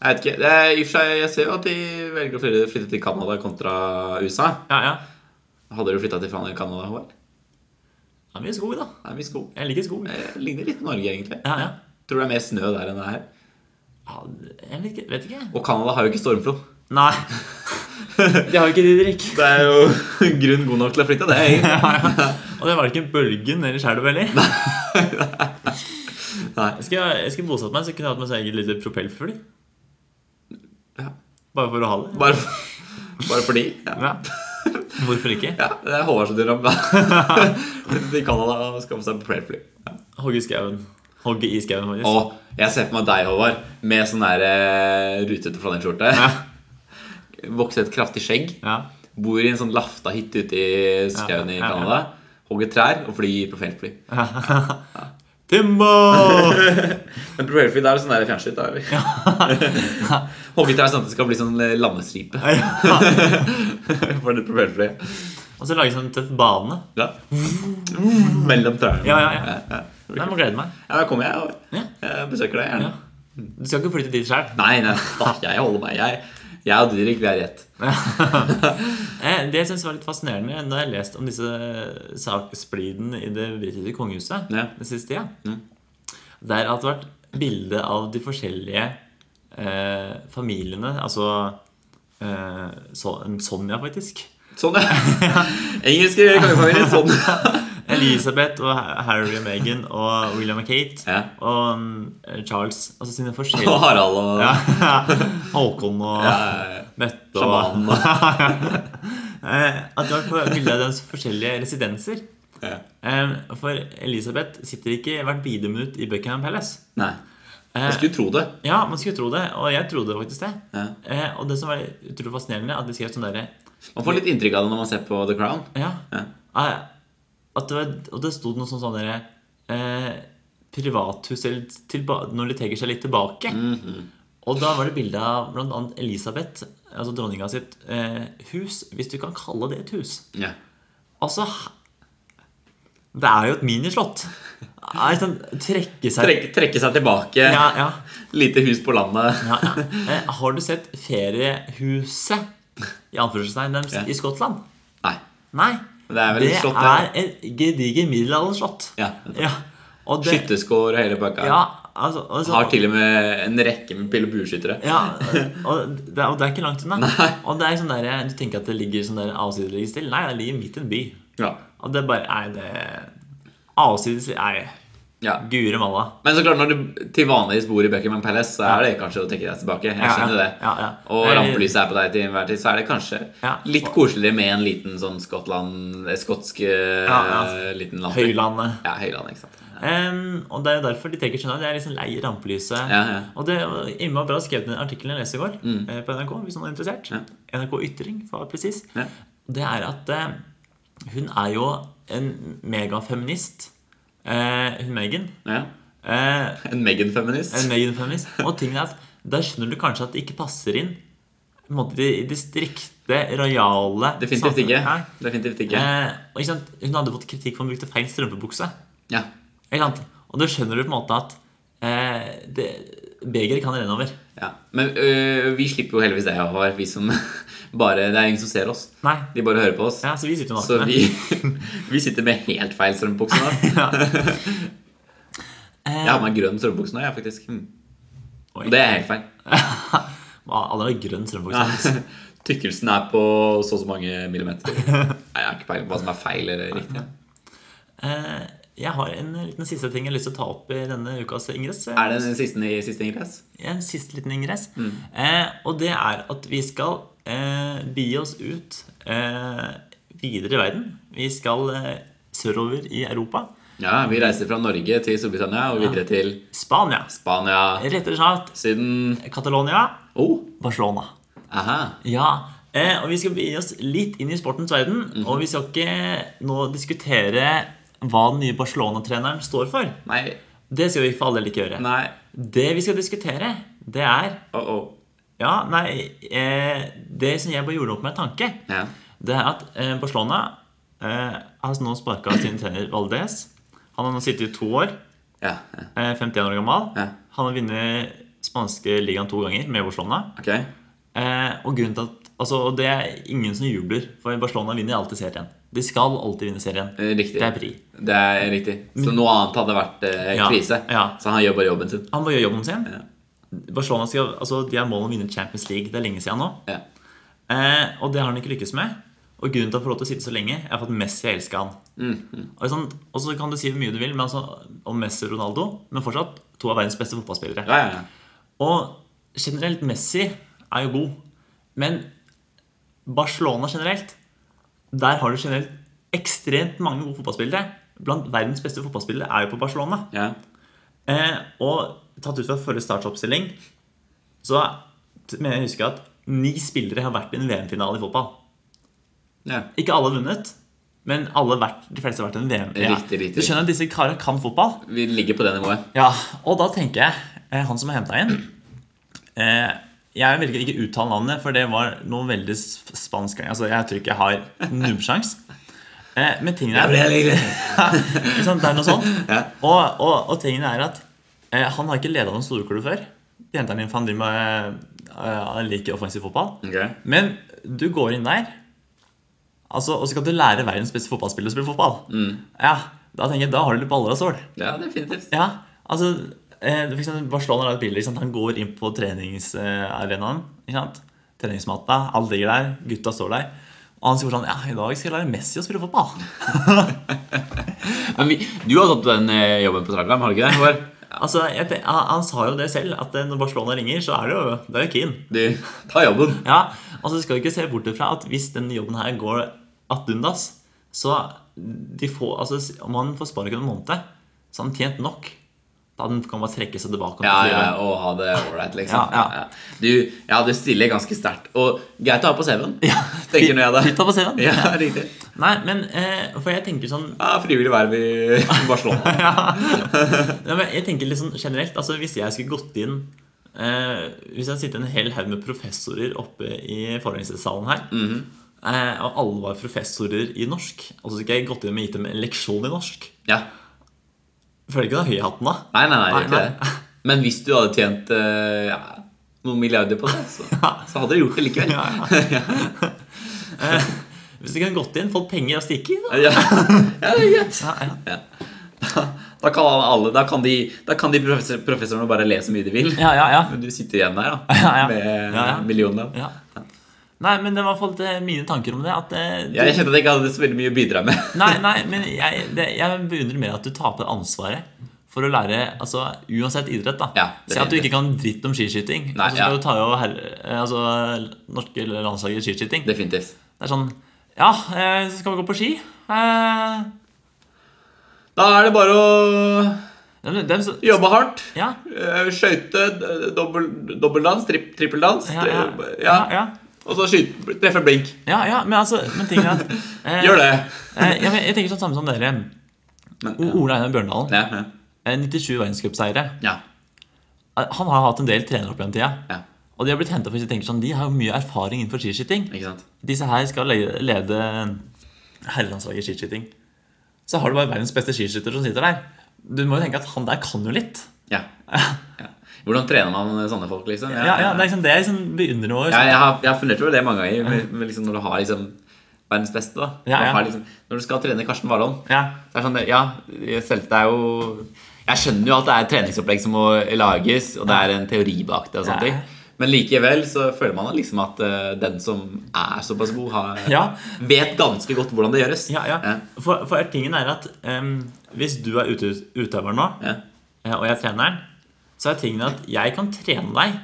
Jeg vet ikke, det er, i og for seg, jeg ser jo at de velger å flytte, flytte til Canada kontra USA. ja, ja. Hadde du flytta til faen i Canada, Håvard? Det er mye skog, da. Det er mye skog. Jeg liker skog. Eh, ligner litt Norge, egentlig. Ja, ja. Tror det er mer snø der enn det er her. ja jeg liker, vet ikke. Og Canada har jo ikke stormflo. Nei. De har jo ikke Didrik. Det er jo grunn god nok til å flytte, det. egentlig. Og det var ikke bølgen eller skjelv heller. Nei. Jeg skulle, jeg skulle bosatt meg, så kunne jeg hatt meg sånn eget lite propellfly. Ja. Bare for å ha det. Bare, for, bare fordi. Ja. Ja. Hvorfor ikke? ja, det er Håvard som drar om. Flytte til Canada og skaffe seg propellfly. Hogge i skauen. Hogge i skauen, faktisk. Og jeg ser for meg deg, Håvard, med sånn der eh, rutete flanellskjorte. Vokse et kraftig skjegg. Ja. Bor i en sånn lafta hytte ute i skauen i Ja, ja, ja. Canada. Hogger trær og flyr propellfly. Timbo! Men propellfly, da er det sånn der fjernstyrt, da, eller? Hogger trær sånn at det skal bli sånn landestripe. For det propellflyet. Og så lage sånn tøff bane. Ja. Mellom trærne. Ja, ja, ja. Mm. ja. Nei, jeg må glede meg. Ja, Da kommer jeg og Ja. jeg besøker deg gjerne. Ja. Du skal ikke flytte dit sjøl. Nei, nei, da, jeg holder meg. Jeg, jeg og Didrik, vi er rett. Eh, Det jeg syns var litt fascinerende da jeg leste om disse sakspliden i det britiske kongehuset Ja. den siste tida, der har det vært bilde av de forskjellige eh, familiene Altså eh, so Sonja, faktisk. Sånn, ja. Engelske kongefamilier. Sånn. Elisabeth og Ha- Harry og Meghan og William og Kate Ja. og mm, Charles. Altså sine Og forskjellige Harald og ja. Håkon og ja, Mette og sjamanen. og- Eh, At det var på bildet av deres forskjellige residenser. Ja. Eh, For Elisabeth sitter ikke hvert bidige minutt i Buckingham Palace. Nei, Eh, jeg skulle tro det. Ja, man skulle tro det, og jeg trodde faktisk det. Ja. Eh, Og det som var utrolig fascinerende, at de skrev sånn derre Man får litt inntrykk av det når man ser på The Crown. ja, Ja. eh, at det var, Og det stod noe sånn sånn derre eh, Privathus eller tilba, når de trekker seg litt tilbake. Mhm. Og da var det bilde av bl.a. Elisabeth, altså dronninga sitt, eh, hus, hvis du kan kalle det et hus. Ja. Altså Det er jo et minislott. Er sånn, trekke seg Trekke, trekke seg tilbake. ja, ja, Lite hus på landet. ja, ja. Eh, Har du sett feriehuset i anførselstegn deres Ja. i Skottland? Nei. Nei. Men det er vel Det et slott, er ja. et gediger middelalderslott. Ja. Ja. Og det, Skytterskår og hele pakka. ja, altså, altså, Har til og med en rekke med pil- og bueskyttere. ja, og, det, er- og det er ikke langt unna. Og det er sånn der, Du tenker at det ligger sånn der avsidesligger stille. Nei, det ligger midt i en by. Ja. Og det bare er det Avsides Nei, Ja. gure malla. Men så klart, når du til vanligvis bor i Buckingham Palace, så er det kanskje å trekke deg tilbake. Jeg Ja, skjønner ja. det. Ja, ja. Og Jeg- rampelyset er på deg til enhver tid, så er det kanskje Ja. litt koseligere med en liten sånn Skottland eh, Skotsk eh, Ja, ja. liten land. Høylandet. Ja, Høyland, ikke sant. Em, og det er jo derfor de trekker seg unna. De er liksom lei rampelyset. Ja, Mm. ja. Og det var innmari bra skrevet i den artikkelen jeg leste i går eh, på NRK, hvis noen er interessert. NRK Ytring, for å være presis. Ja. Det er at eh, hun er jo en megafeminist, eh, hun Megan. Ja. Eh, En Megan-feminist. en Megan-feminist. Og tingen er at da skjønner du kanskje at det ikke passer inn på en måte, i det strikte, rojale Definitivt ikke. samfunnet. Definitivt Nei. ikke. Eh, og ikke sant? Hun hadde fått kritikk for at hun brukte feil strømpebukse. Ja. Ikke sant? Og da skjønner du på en måte at eh, det, Begeret kan renne over. Ja. Men øh, vi slipper jo heldigvis det, Håvard. Vi som bare, det er ingen som ser oss. Nei. De bare hører på oss. Ja, så vi sitter jo Så nakne. vi, vi sitter med helt feil strømbukse nå. Jeg har på meg grønn strømbukse nå, jeg, faktisk. Mm. Oi. Og det er helt feil. Alle har grønn strømbukse. Tykkelsen er på så og så mange millimeter. Nei, Jeg har ikke peiling på hva som er feil eller riktig. Eh, Jeg har en liten siste ting jeg har lyst til å ta opp i denne ukas ingress. Er det Mm. den siste, i- siste ingress? En siste liten ingress. Eh, og det er at vi skal eh, begi oss ut eh, videre i verden. Vi skal eh, sørover i Europa. Ja, vi reiser fra Norge til Storbritannia og videre til Spania. Spania, Rettere sagt Syden Catalonia. Oh, Barcelona. aha. Ja. Eh, og vi skal begi oss litt inn i sportens verden. Mhm. Og vi skal ikke nå diskutere hva den nye Barcelona-treneren står for. Nei. Det skal vi for all del ikke gjøre. Nei. Det vi skal diskutere, det er Oh, oh. Ja, nei eh, Det som jeg bare gjorde opp med en tanke, Ja. det er at eh, Barcelona eh, har nå sparka sin trener Valdez. Han har nå sittet i to år, Ja, ja. eh, 51 år gammel. Ja. Han har vunnet spanske ligaen to ganger med Barcelona. Ok. Eh, og grunnen til at Altså, og det er ingen som jubler, for Barcelona vinner alltid serien. De skal alltid vinne serien. Eh, Riktig. Det er pri. Det er riktig. Så noe annet hadde vært eh, Ja, krise. ja. Så han gjør bare jobben sin. Han bare gjør jobben sin. Ja. Barcelona skal, altså, De har mål om å vinne Champions League. Det er lenge siden nå. Ja. Eh, og det har han ikke lykkes med. Og grunnen til at han får lov til å sitte så lenge, er for at Messi elsker han. Mm, Og, sånn, og så kan du si hvor mye du vil men altså, om Messi og Ronaldo, men fortsatt to av verdens beste fotballspillere. Ja, ja, ja. Og generelt, Messi er jo god, men Barcelona generelt Der har du generelt ekstremt mange gode fotballspillere. Blant verdens beste fotballspillere er jo på Barcelona. ja. Eh, og tatt ut fra forrige startoppstilling, så mener jeg å huske at ni spillere har vært i en VM-finale i fotball. ja. Ikke alle har vunnet, men alle har vært, de fleste har vært i en VM. Riktig, riktig, Du skjønner at disse karene kan fotball? Vi ligger på det nivået. Ja, og da tenker jeg, eh, han som har henta inn eh, Jeg velger ikke å uttale navnet, for det var noe veldig s- spansk. Altså, jeg tror ikke jeg har nubbsjans. Eh, men tingen er ikke sant? Det er noe sånt. Og, og, og tingen er at eh, han har ikke leda noen storklubb før. De henter han inn for han driver med eh, like offensiv fotball. Ok. Men du går inn der, altså, og så skal du lære verdens beste fotballspiller å spille fotball. Ja, Da tenker jeg, da har du litt baller av stål. Ja, definitivt. Ja, altså eh, for eksempel Barcelona har et bilde. ikke sant? Han går inn på treningsarenaen. ikke sant? Treningsmatta. Alle ligger der. Gutta står der. Og han sier sånn Ja, i dag skal jeg lære Messi å spille fotball. Men vi, du har tatt den eh, jobben på Trondheim, har du ikke det? Håvard? Altså, jeg, te- han, han sa jo det selv, at eh, når Barcelona ringer, så er det jo det er jo Keane. Du, ta jobben. Ja, altså skal du ikke se bort ifra at hvis denne jobben her går ad undas, så de får, altså, s- om han får sparken om en måned, så har han tjent nok. Da kan han bare trekke seg tilbake. og Ja, si ja, det. og ha det ålreit, liksom. Ja, ja. Du, ja, du stiller ganske sterkt. Og greit å ha på CV-en, tenker nå jeg da. Fint å ha på CV-en. Ja, riktig. Nei, men eh, for jeg tenker sånn Ja, frivillig verv i Barcelona. ja, men Jeg tenker litt sånn generelt, altså hvis jeg skulle gått inn eh, Hvis jeg hadde sittet en hel haug med professorer oppe i forelesningssalen her eh, Og alle var professorer i norsk Og så skulle jeg gått inn og gitt dem en leksjon i norsk Ja. Føler ikke du har høyhatten da? Nei, nei, nei, Nei, ikke nei. det. Men hvis du hadde tjent eh, ja, noen milliarder på det, så, så hadde du gjort det likevel. Ja, Eh, hvis du kunne gått inn, fått penger og stikke da. Ja, ja det er greit. Ja, ja. Da kan alle, da kan de, da kan de professor, professorene bare le så mye de vil. Ja, ja, ja. Men du sitter igjen der, da. Ja, ja. Med Ja, ja. millioner. ja. Nei, men det var i hvert fall eh, mine tanker om det at, eh, du- Jeg kjente at jeg ikke hadde så veldig mye å bidra med. Nei, nei, men jeg, det, jeg beundrer mer at du taper ansvaret for å lære altså, uansett idrett. da Ja, det Si er at du riktig. ikke kan dritt om skiskyting. Nei, og så ja. skal du ta jo her, altså, norske landslaget i skiskyting. Det. Definitivt. er sånn Ja, eh, så skal vi gå på ski? Eh, Da er det bare å dem, dem, som- jobbe hardt. Ja, Eh, Skøyte, d- dobbel- dobbeldans, tripp, trippeldans. ja, ja, eh, ja, ja. ja, Og så skyte, treffe blink. ja, ja, men altså men tingen er at eh, Gjør det. Eh, ja, men jeg tenker sånn samme som dere. Men, O- Ole Einar Bjørndalen. Ja, ja. eh, 97 verdenscupseiere. ja. Eh, Han har hatt en del trenere opp gjennom tida. Ja. Og de har blitt hentet for hvis jeg tenker sånn, de har jo mye erfaring innenfor skiskyting. Ikke sant? Disse her skal le- lede herrelandslaget i skiskyting. Så har du bare verdens beste skiskytter som sitter der. Du må jo tenke at han der kan jo litt. Ja. ja. Hvordan trener man sånne folk, liksom? Ja, ja, det er liksom det jeg liksom beundrer noe. Ja, jeg, har, jeg har fundert over det mange ganger med, med liksom, når du har liksom, verdens beste. da Når Ja, du ja. Har, liksom, Når du skal trene Karsten Warholm Ja. Det er sånn, det- ja, selv det er jo Jeg skjønner jo at det er et treningsopplegg som må lages, og det er en teori bak det. og sånne Ja. ting Men likevel så føler man liksom at eh, den som er såpass god, har, Ja. vet ganske godt hvordan det gjøres. Ja, ja. For, for tingen er at em, hvis du er ute, utøver nå, Ja. eh, og jeg er treneren, så er tingen at jeg kan trene deg,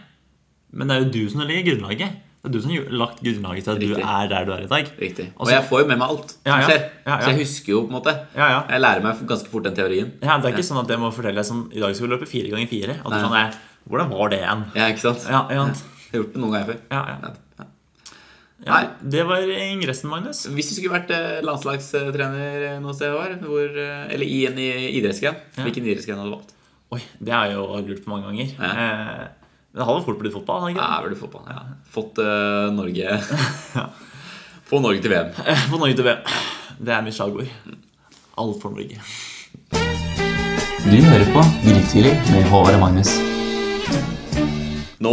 men det er jo du som legger grunnlaget. Det er du som har lagt grunnlaget til at Riktig. du er der du er i dag. Riktig. Og Og så- jeg får jo med meg alt som Ja, ja. skjer. Ja, ja. Så jeg husker jo, på en måte. Ja, ja. Jeg lærer meg ganske fort den teorien. Ja, det er ikke sånn at jeg må fortelle deg som i dag skal vi løpe fire ganger fire. At du Nei. sånn er, Hvordan var det igjen? Ja, ikke sant? Ja, ja. sant. Jeg har gjort det noen ganger før. Ja, ja. Ja. ja, Nei. Det var ingressen, Magnus. Hvis du skulle vært eh, landslagstrener noe sted i år, hvor, eh, eller i en i- idrettsgren, hvilken idrettsgren hadde du valgt? Oi, det har jeg jo lurt på mange ganger. Ja. Eh, men det hadde fort blitt fotball. hadde det Ja, Ikke? vel, fotball. Ja. Fått eh, Norge Få Norge til VM. det? For Norge til VM. Det er mitt slagord. Alt for Norge. Du hører på Grytidlig med Håvard og Magnus. Nå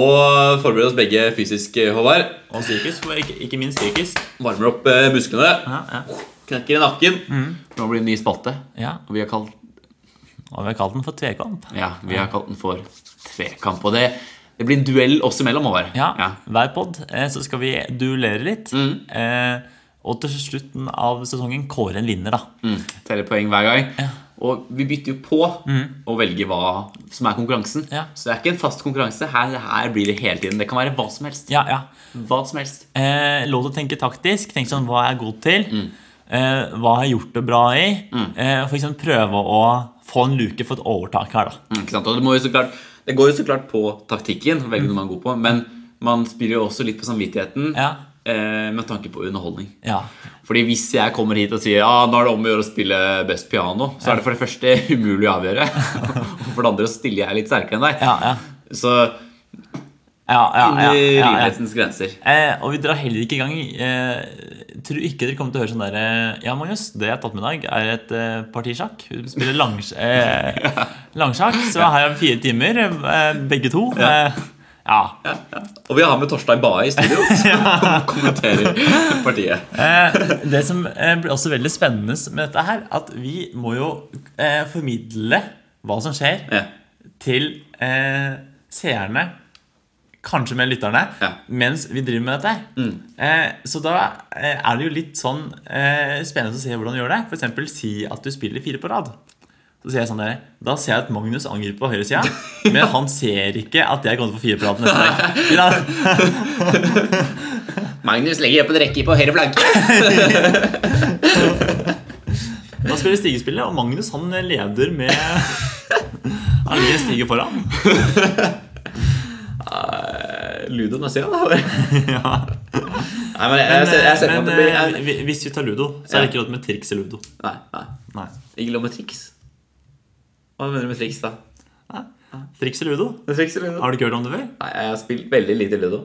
forbereder oss begge fysisk, eh, Håvard. Og psykisk, for ikke, ikke minst psykisk. Varmer opp eh, musklene. Ja, ja. Knekker i nakken. Mm. Nå blir det en ny spalte. ja. Og vi har kalt Og vi har kalt den for tvekamp. Ja, vi har kalt den for tvekamp. Og det, det blir en duell oss imellom, Håvard. Ja, Hver pod eh, så skal vi duellere litt. Mm. Eh, og til slutten av sesongen kåre en vinner, da. Mm. Teller poeng hver gang. Og vi bytter jo på å velge hva som er konkurransen. Mm. Ja. Så det er ikke en fast konkurranse. Her, her blir det hele tiden. Det kan være hva som helst. Ja, ja. Hva som helst. Eh, lov til å tenke taktisk. Tenk sånn, hva er jeg god til? Eh, hva har jeg gjort det bra i? Eh, for eksempel prøve å få en luke for et overtak her, da. Mm, Ikke sant? Og det, må jo så klart, det går jo så klart på taktikken, velge noe man er god på, men man spiller jo også litt på samvittigheten Mm. Ja. eh, med tanke på underholdning. Ja. Fordi hvis jeg kommer hit og sier ja, nå er det om å gjøre å spille best piano, så er det for det første umulig å avgjøre, og for det andre så stiller jeg litt sterkere enn deg. Ja, ja. Så Ja, ja, inn i ja, ja, ja. rimelighetens grenser. Eh, og vi drar heller ikke i gang eh, Tror ikke dere kommer til å høre sånn derre Ja, Magnus, det jeg har tatt med i dag, er et eh, partisjakk. Vi spiller langs, eh, langsjakk, så her er vi fire timer, eh, begge to. Eh, ja. Og vi har med Torstein Bae i studio, som kommenterer partiet. Eh, det som eh, blir også veldig spennende med dette her, at vi må jo eh, formidle hva som skjer, Ja. til eh, seerne, kanskje med lytterne, Ja. Mm. mens vi driver med dette. her. Eh, så da eh, er det jo litt sånn eh, spennende å se hvordan du gjør det. For eksempel si at du spiller fire på rad. Så sier jeg sånn der, Da ser jeg at Magnus angriper på høyresida, men han ser ikke at jeg kommer til å få fire på rad på neste dag. Magnus legger opp en rekke på høyre flanke. Da spiller Stige-spillet, og Magnus han leder med Han ligger Stige foran. Ludo Nassia, da. Ja. Nei, men jeg, jeg, ser- jeg ser for meg at det blir Men, jeg, eh, vi- hvis vi tar ludo, så er det ikke lov med triks i ludo. Nei, nei. Nei. Ikke lov med triks. Hva mener du med triks, da? Triks i ludo? Med triks eller ludo? Har du ikke hørt om det før? Nei, jeg har spilt veldig lite ludo.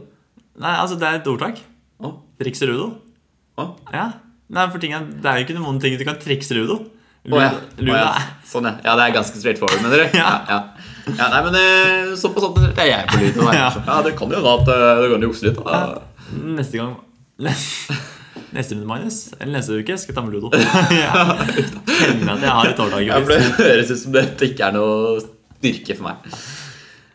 Nei, altså Det er et ordtak. Å, Triks i ludo. å, Ja. Nei, for ting er, Det er jo ikke noen ting du kan trikse i ludo. å, ja. Ludo- Å, ludo ja. er- Sånn, ja. Ja, det er ganske straight forward, mener du? Ja. ja. ja nei, men eh, så på sånt Det er jeg på ludo. da. Ja. Ja, det kan jo da at eh, det kan jo jukse litt. Da. Neste gang Neste neste runde, Magnus, eller neste uke, skal jeg ta med ludo. Ja. Kjenner at jeg har et årdag. Ja, for det høres ut som dette ikke er noe styrke for meg.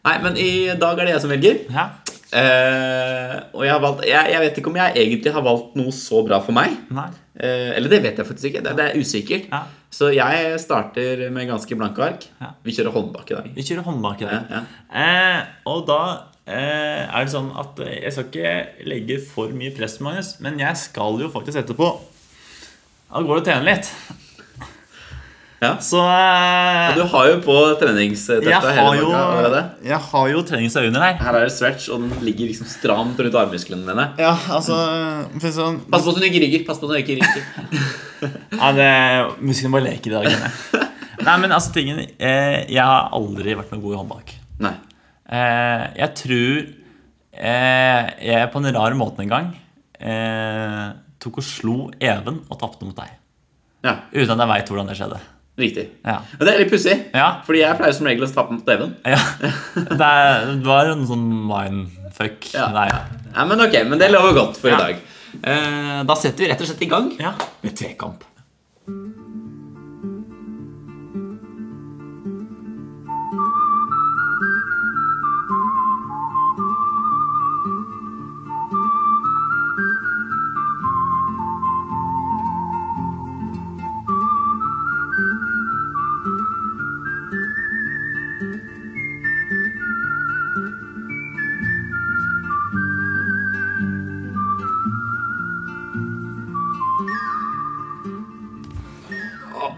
Nei, men i dag er det jeg som velger. Ja. Eh, og jeg, har valgt, jeg, jeg vet ikke om jeg egentlig har valgt noe så bra for meg. Nei. Eh, eller det vet jeg faktisk ikke. Det, det er usikkert. Ja. Så jeg starter med ganske blanke ark. Ja. Vi kjører håndbak i dag. Vi kjører håndbak i dag. Ja, Eh, og da eh, er det sånn at eh, jeg skal ikke legge for mye press, Magnus, men jeg skal jo faktisk etterpå av gårde og trene litt. Ja. Så eh, Du har jo på treningstøfta jeg, har hele jo, uka allerede. jeg har jo treningsøyne her. Her er det stretch, og den ligger liksom stramt rundt armmusklene dine. Ja, altså for sånn, Pass på så du ikke ryker. pass på så du ikke ryker. ja, det, Musklene bare leker i dag. kjenner jeg. Nei, men altså tingen eh, Jeg har aldri vært noe god i håndbak. Nei. Eh, jeg tror eh, jeg på en rar måte en gang eh, tok og slo Even og tapte mot deg. Ja. Uten at jeg veit hvordan det skjedde. Riktig. Ja. Men det er litt pussig, Ja. fordi jeg pleier som regel å stappe den på TV-en. Ja. Det, er, det var en sånn mindfuck. Ja. Nei. Ja, men ok, men det lover godt for Ja. i dag. Eh, da setter vi rett og slett i gang Ja. med Tvekamp.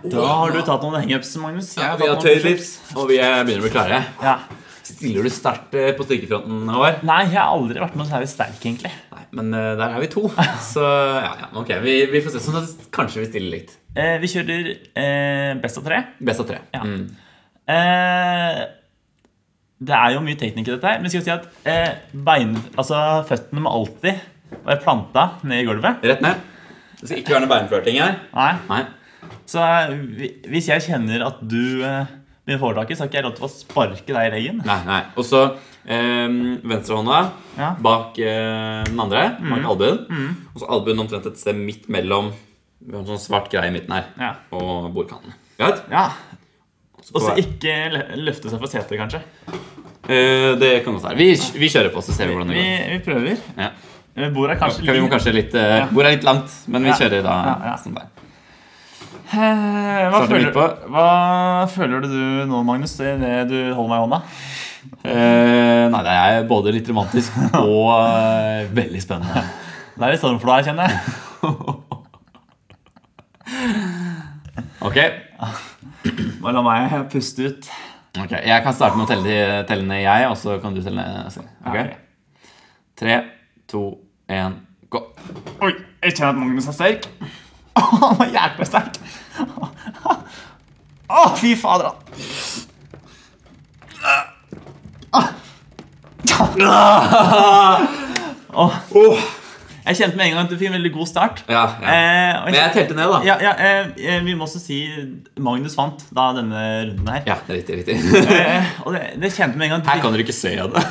Da har du tatt noen hangups, Magnus. Jeg Ja, har vi har tatt noen tøyd litt, og vi er begynner å bli klare. Ja. Stiller du sterkt eh, på strikkefronten, Håvard? Nei, jeg har aldri vært noe særlig sterk, egentlig. Nei, men eh, der er vi to. Så ja, ja, ok. Vi, vi får se. Sånn at kanskje vi stiller litt. Eh, vi kjører eh, best av tre. Best av tre. Ja. Mm. Eh, det er jo mye teknikk i dette her, men skal vi si at eh, bein, altså, føttene må alltid være planta ned i gulvet. Rett ned. Det skal ikke være noe beinflørting her. Nei. Nei. Så eh, hvi- hvis jeg kjenner at du eh, blir foretaket, så har ikke jeg lov til å sparke deg i leggen. Nei, nei. Og så eh, venstrehånda Ja. bak eh, den andre, bak albuen. Og så albuen omtrent et sted midt mellom Vi har en sånn svart greie i midten her. Ja. Og bordkanten. Greit? ja. Og så På- ikke lø- løfte seg fra setet, kanskje. Eh, det kan godt være. Vi, vi kjører på, så ser vi hvordan det Vi, går. vi prøver. Ja. Eh, Bordet er kanskje Vi må kanskje litt, eh, Ja. Bordet er litt langt, men vi Ja. kjører da Ja, ja. sånn der. Eh, hva, Starte føler, midt på. hva føler du nå, Magnus, i det du holder meg i hånda? Eh, nei, det er både litt romantisk og eh, veldig spennende. Det er litt storm for deg, kjenner jeg. Ok, Bare la meg puste ut. ok. Jeg kan starte med å telle, telle ned jeg, og så kan du telle ned selv. Ja, ok. Ok? Tre, to, én, gå. Oi, jeg kjenner at Magnus er sterk. Åh, Han var jækla sterk. Å, fy fader, da. Åh. Jeg kjente med en gang at du fikk en veldig god start. Ja, ja. Oh. Eh, og Men jeg telte ned, da. Ja, ja, eh, eh, vi må også si Magnus vant da denne runden her. Ja, riktig, riktig. Eh, og det, det kjente med en gang at du Her kan dere ikke se det.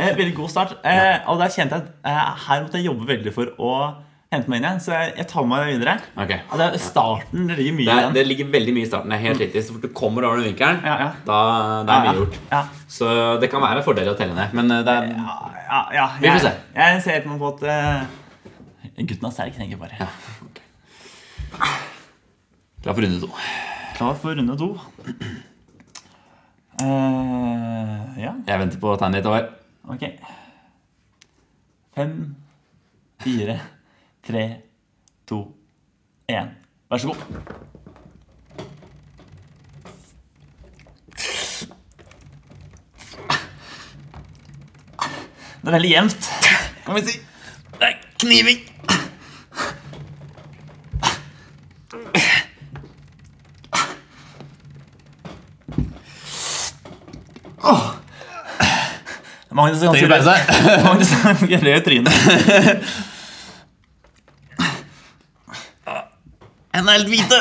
Eh, veldig god start. Eh, og der kjente jeg at eh, her måtte jeg jobbe veldig for å hente meg inn igjen. Så jeg, jeg tar med meg videre. Ok. Og det er starten det ligger mye Det, er, igjen. det ligger veldig mye i starten. det er Helt riktig. Så fort du kommer over den vinkelen, Ja, ja. da det er mye gjort. Ja, Så det kan være en fordel å telle ned, men eh, det er ja, ja, ja. Vi får se. Jeg, jeg ser helt på at eh, gutten er sterk, tenker jeg bare. Klar for runde to. Klar for runde to. Eh, ja, Jeg venter på tegnet ditt. Håvard. ok. Fem, fire, tre, to, én. Vær så god. Det er veldig jevnt. Kan vi si. Det er kniving. Åh. Magnus er ganske Trenger pause. rød- Magnus er ganske rød i trynet. Hendene er helt hvite.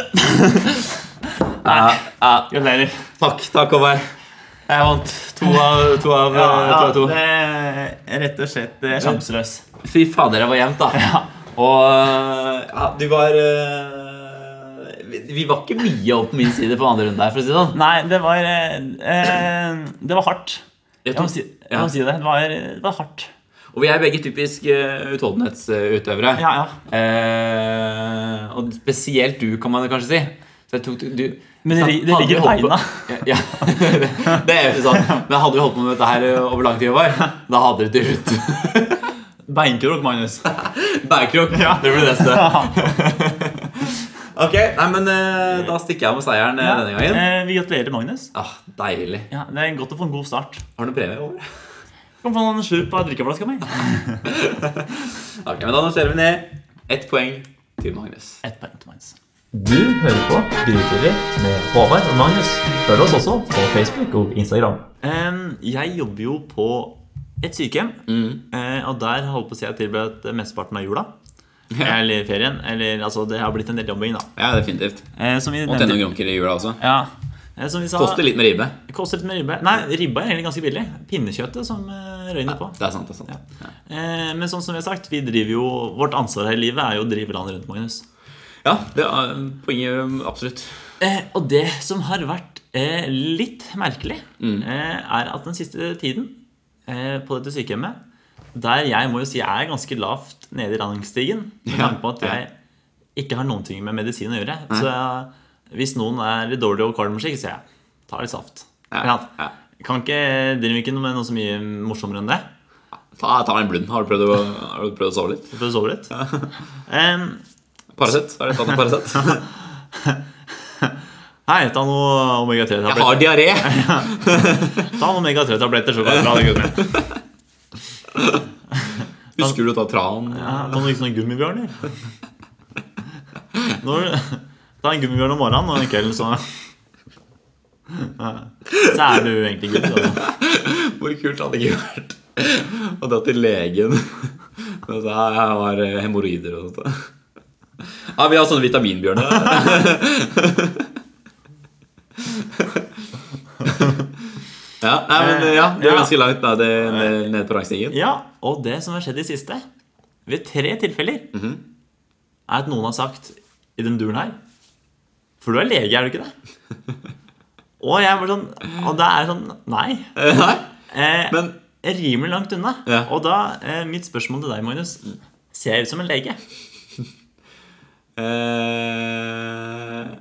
ja, ja. Gratulerer. Takk, takk, Håvard. Jeg vant to av to. Av, eh, to, Ja, av det er rett og slett eh, sjanseløs. to. Fy fader, det var jevnt, da. Og eh, ja, du var eh, vi, vi var ikke mye opp på min side på andre runde her, for å si det sånn. Nei, det var eh, eh, Det var hardt. Jeg Jeg må tok- si, jeg må si det. Det var, det var hardt. Og vi er begge typisk eh, utholdenhetsutøvere. Ja, ja. Eh, og spesielt du, kan man kanskje si. Så jeg tok, du, Men det, Sånn, det hadde vi ligger i holdt på- beina. Ja, ja. det er jo ikke sant. Men hadde vi holdt på med dette her over lang tid, Håvard, da hadde det til slutt Beinkrok, Magnus. Bærekrok. Det blir neste. ok, nei, men eh, da stikker jeg av med seieren eh, denne gangen. Eh, vi gratulerer, Magnus. Ah, deilig. Ja, det er godt å få en god start. Har du noen premie over? Du kan få en slurp av drikkeflaska mi. Ok, men Da noterer vi ned ett poeng til Magnus. Ett poeng til Magnus. Du hører på Grytidlig med Håvard og Magnus. Følg oss også på Facebook og Instagram. Em, jeg jobber jo Mm. på et sykehjem, eh, og der holdt på å si jeg tilbrakt mesteparten av jula. Eller ferien. Eller altså, det har blitt en del jobbing, da. Ja, definitivt. Eh, som vi Måtte noen nevnte. grunker i jula også. Ja. Eh, som vi sa, Koster litt med ribbe. koster litt med ribbe. Nei, ribba er egentlig ganske billig. Pinnekjøttet som eh, røyner på. Det er sant. det er sant Ja, Eh, men sånn som vi har sagt, vi driver jo, vårt ansvar her i livet er jo å drive landet rundt, Magnus. ja det er um, poenget absolutt. Eh, og det som har vært eh, litt merkelig, Mm. eh, er at den siste tiden eh, på dette sykehjemmet, der jeg må jo si jeg er ganske lavt nede i rangstigen, med Ja, tanke på at ja. jeg ikke har noen ting med medisin å gjøre. Så jeg, hvis noen er litt dårlig og kvalmer seg, så sier jeg ta litt saft. Ja, Ikke sant? ja. Kan ikke, driver ikke med noe så mye morsommere enn det. Ta, ta en blund. Har du prøvd å, har du prøvd å sove litt? For å sove litt. Em, Paracet? Har du tatt noe Paracet? Hei, ta noe Jeg omega-3-tabletter. har diaré! Ta noen omega-3-tabletter, så går det bra. det gutten. Husker du å ta tran? Ja, Kan du ikke sånne gummibjørner? Når, ta en gummibjørn om morgenen og en kveld så Så er du egentlig gutt. Altså. Hvor kult hadde det ikke vært å dra til legen og si at jeg har eh, hemoroider og sånt. Ja, vi har sånne vitaminbjørner. Ja, nei, men ja, du er ganske langt ned, ned, ned på rangstigen. Eh, Ja, og det som har skjedd i siste, ved tre tilfeller, Mhm. er at noen har sagt i den duren her For du er lege, er du ikke det? Og jeg er bare sånn Og det er sånn Nei. Eh, Nei, Eh, men rimelig langt unna. Ja. Og da, eh, mitt spørsmål til deg, Magnus Ser jeg ut som en lege? eh,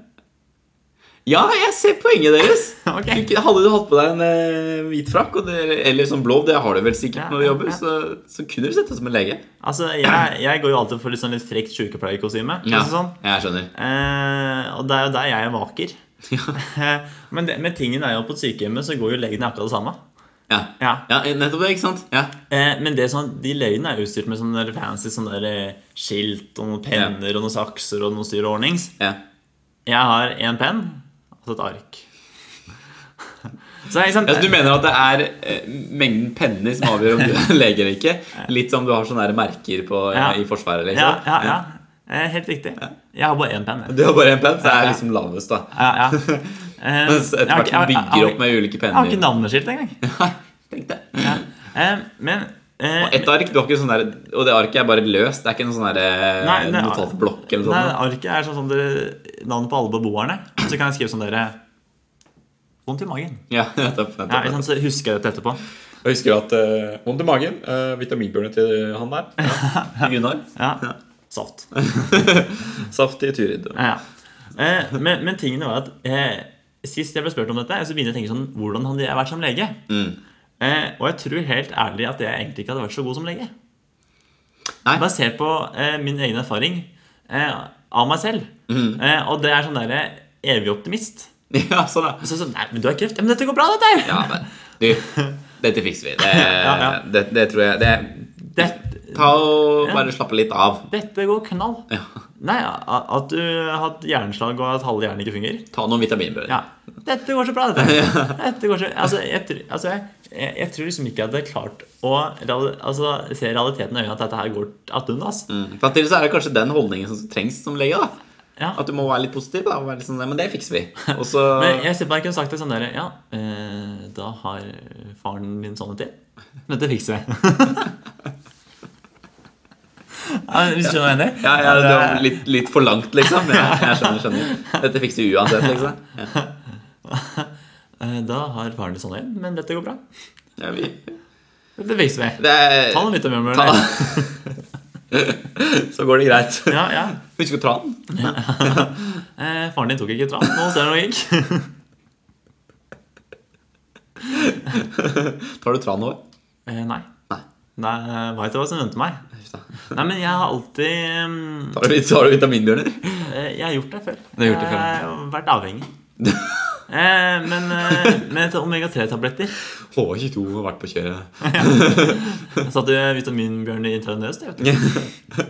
Ja, jeg ser poenget deres. Ok. Du kunne- Hadde du hatt på deg en eh, hvit frakk og det, eller sånn blå, det har du vel Ja, sikkert når du jobber, ja. så, så kunne du sett deg som en lege. Altså, jeg, jeg går jo alltid for litt sånn litt frekt sykepleierkostyme. Ja, Altså sånn. jeg skjønner. eh, og det er jo der jeg er vaker. Ja. Eh, Men, det, men tingen er jo at på sykehjemmet så går jo legene akkurat det samme. Ja. Ja. ja, nettopp det, ikke sant? Ja. Eh, men det er sånn, de legene er utstyrt med sånne der fancy sånne der eh, skilt og noen penner og noen sakser og noen styr og ordnings. ja. Jeg har én penn og et ark. Så liksom, ikke sant? Altså, du mener at det er eh, mengden penner som avgjør om du er lege eller ikke? Litt som du har sånne der merker på, eh, Ja. i Forsvaret? Liksom. ja, ja, ja. Eh, Helt riktig. Jeg har bare én penn. jeg. Du har bare én penn, så jeg er liksom lavest, da. Ja, ja. Eh, Mens jeg etter hvert har ikke- som du jeg- jeg- bygger opp med ulike Jeg har ikke penner. navneskilt engang. Tenk det. Eh, men eh, Og ett ark, du har ikke sånn der, og det arket er bare løst? Det er ikke noen sånn der, eh, Nei, det er- notatblokk eller Nei, noe sånt? arket er sånn som dere Navnet på alle beboerne. Så kan jeg skrive sånn dere Vondt i magen. Ja, nettopp, Ja, nettopp. ikke sant, så husker jeg dette etterpå. Jeg husker at eh, vondt i magen. Uh, Vitaminbjørnet til han der. Ja. Gunnar. Ja. Saft. Saft i Turid. Ja, ja. Eh, men, men tingene var at eh, sist jeg ble spurt om dette, så begynte jeg å tenke sånn Hvordan hadde jeg vært som lege? Eh, og jeg tror helt ærlig at jeg egentlig ikke hadde vært så god som lege. Nei. Basert på eh, min egen erfaring eh, av meg selv. Eh, og det er sånn derre evig optimist. Ja, sånn, ja. Så, så, nei, men du har kreft. Ja, men dette går bra, dette her! Ja, men du, dette fikser vi. Det, Ja, ja. det, det tror jeg det, Dette, Ta og Ja. bare slappe litt av. dette går knall. Ja. Nei, a- at du har hatt hjerneslag og at halve hjernen ikke fungerer. Ta noen vitaminbønner. Ja. Dette går så bra, dette. dette går så, altså, jeg, tror- altså, jeg, jeg, jeg tror liksom ikke jeg hadde klart å real- altså, se realiteten i øynene at dette her går ad undas. Mm, Samtidig så er det kanskje den holdningen som trengs som lege. da Ja. At du må være litt positiv. da og være litt sånn, Men det fikser vi. Og så Men jeg ser på deg kunne sagt det sånn der Ja, eh, da har faren min sånne ting. Men dette fikser vi. ja, hvis du skjønner hva jeg mener? ja, ja, det var litt, litt for langt, liksom. Ja, jeg skjønner, skjønner Dette fikser vi uansett, liksom. Ja, Eh, Da har faren din sånne ting, men dette går bra. ja, vi, Dette fikser vi. det er, Ta noe litt om Ta- hjemmelen. så går det greit. Ja, ja. Husker du tranen? Eh, faren din tok ikke tran. Nå ser du noe gikk. Tar du tran over? Eh, nei. Nei. Nei, Veit du hva som venter meg? Nei, men jeg har alltid mm, Tar du, tar du vitaminbjørner? eh, Jeg har gjort det før. har gjort det før. Jeg har vært avhengig. eh, men eh, med til omega-3-tabletter H22 har vært på kjøret. Jeg satte jo vitaminbjørn i intravenøst. jeg vet ikke.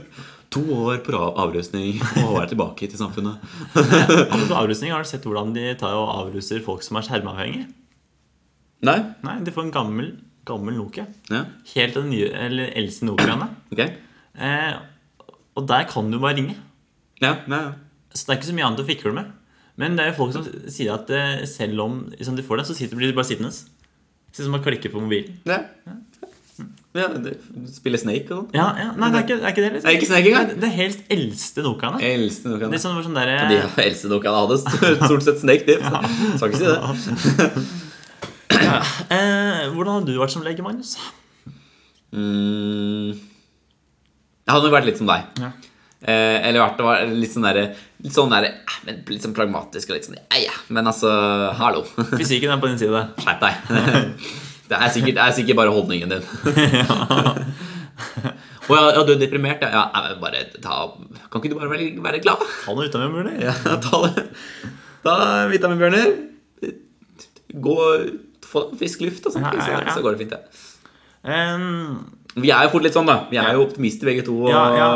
To år på ra- avrusning og er tilbake til samfunnet. Apropos avrusning, har du sett hvordan de tar og avruser folk som er skjermavhengige? Nei? Nei, de får en gammel, gammel Nokia. Ja, Helt til den nye, eller eldste Nokiaene. ok. Eh, Og der kan du bare ringe. Ja, ja, ja. Så det er ikke så mye annet å fikle med. Men det er jo folk som sier at eh, selv om liksom, de får det, så sitter, blir de bare sittende. Sitter som å klikke på mobilen. Ja. Ja, det- Spille Snake og sånn. Ja, ja, Nei, det er ikke, det er ikke det. liksom. Det er ikke snakking engang. Det er helt eldste Nokiaene. Eldste Nokian. Litt sånn, det var sånn der, De eldste Nokian hadde st- stort sett Snake, de. så- Skal ikke si det. eh, hvordan har du vært som lege, Magnus? Mm. Jeg hadde jo vært litt som deg. Ja. Eh, eller vært det var litt sånn derre Litt sånn derre eh, men Litt sånn pragmatisk og litt sånn ja, ja. Men altså, hallo. Fysikken er på din side. Skjerp deg. Det er sikkert, det er sikkert bare holdningen din. Å ja, ja, du er deprimert? Ja, ja nei, men bare ta Kan ikke du bare være, være glad? Ta noe utenom, mulig. Ja, ta det. Da, vitaminbjørner, gå få frisk luft og sånt. Ja, ja, ja, ja. Så, så går det fint, det. Em, Vi er jo fort litt sånn, da. Vi er jo optimister begge to og Ja, ja.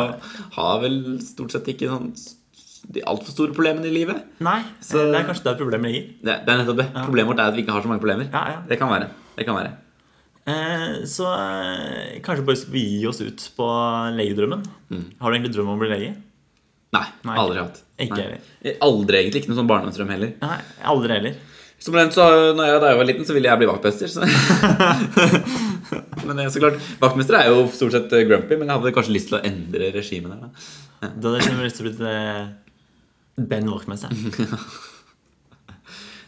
har vel stort sett ikke sånn s- de altfor store problemene i livet. nei, Eh, Så- det er kanskje der problemet ligger. Det, det er nettopp det. Problemet vårt er at vi ikke har så mange problemer. Ja, ja. Det kan være. Det kan være. Eh, så eh, kanskje bare skal vi gi oss ut på legedrømmen. Mm. Har du egentlig drøm om å bli lege? Nei, Nei, aldri hatt. ikke Nei. heller. Aldri egentlig. Ikke noen sånn barndomsdrøm heller. Nei, aldri heller. Som nevnt, så når jeg, da jeg var liten, så ville jeg bli vaktmester. Så. men det er så klart, Vaktmester er jo stort sett eh, grumpy, men jeg hadde kanskje lyst til å endre regimet der. da Da hadde jeg liksom lyst til å bli eh, Ben Walkmester.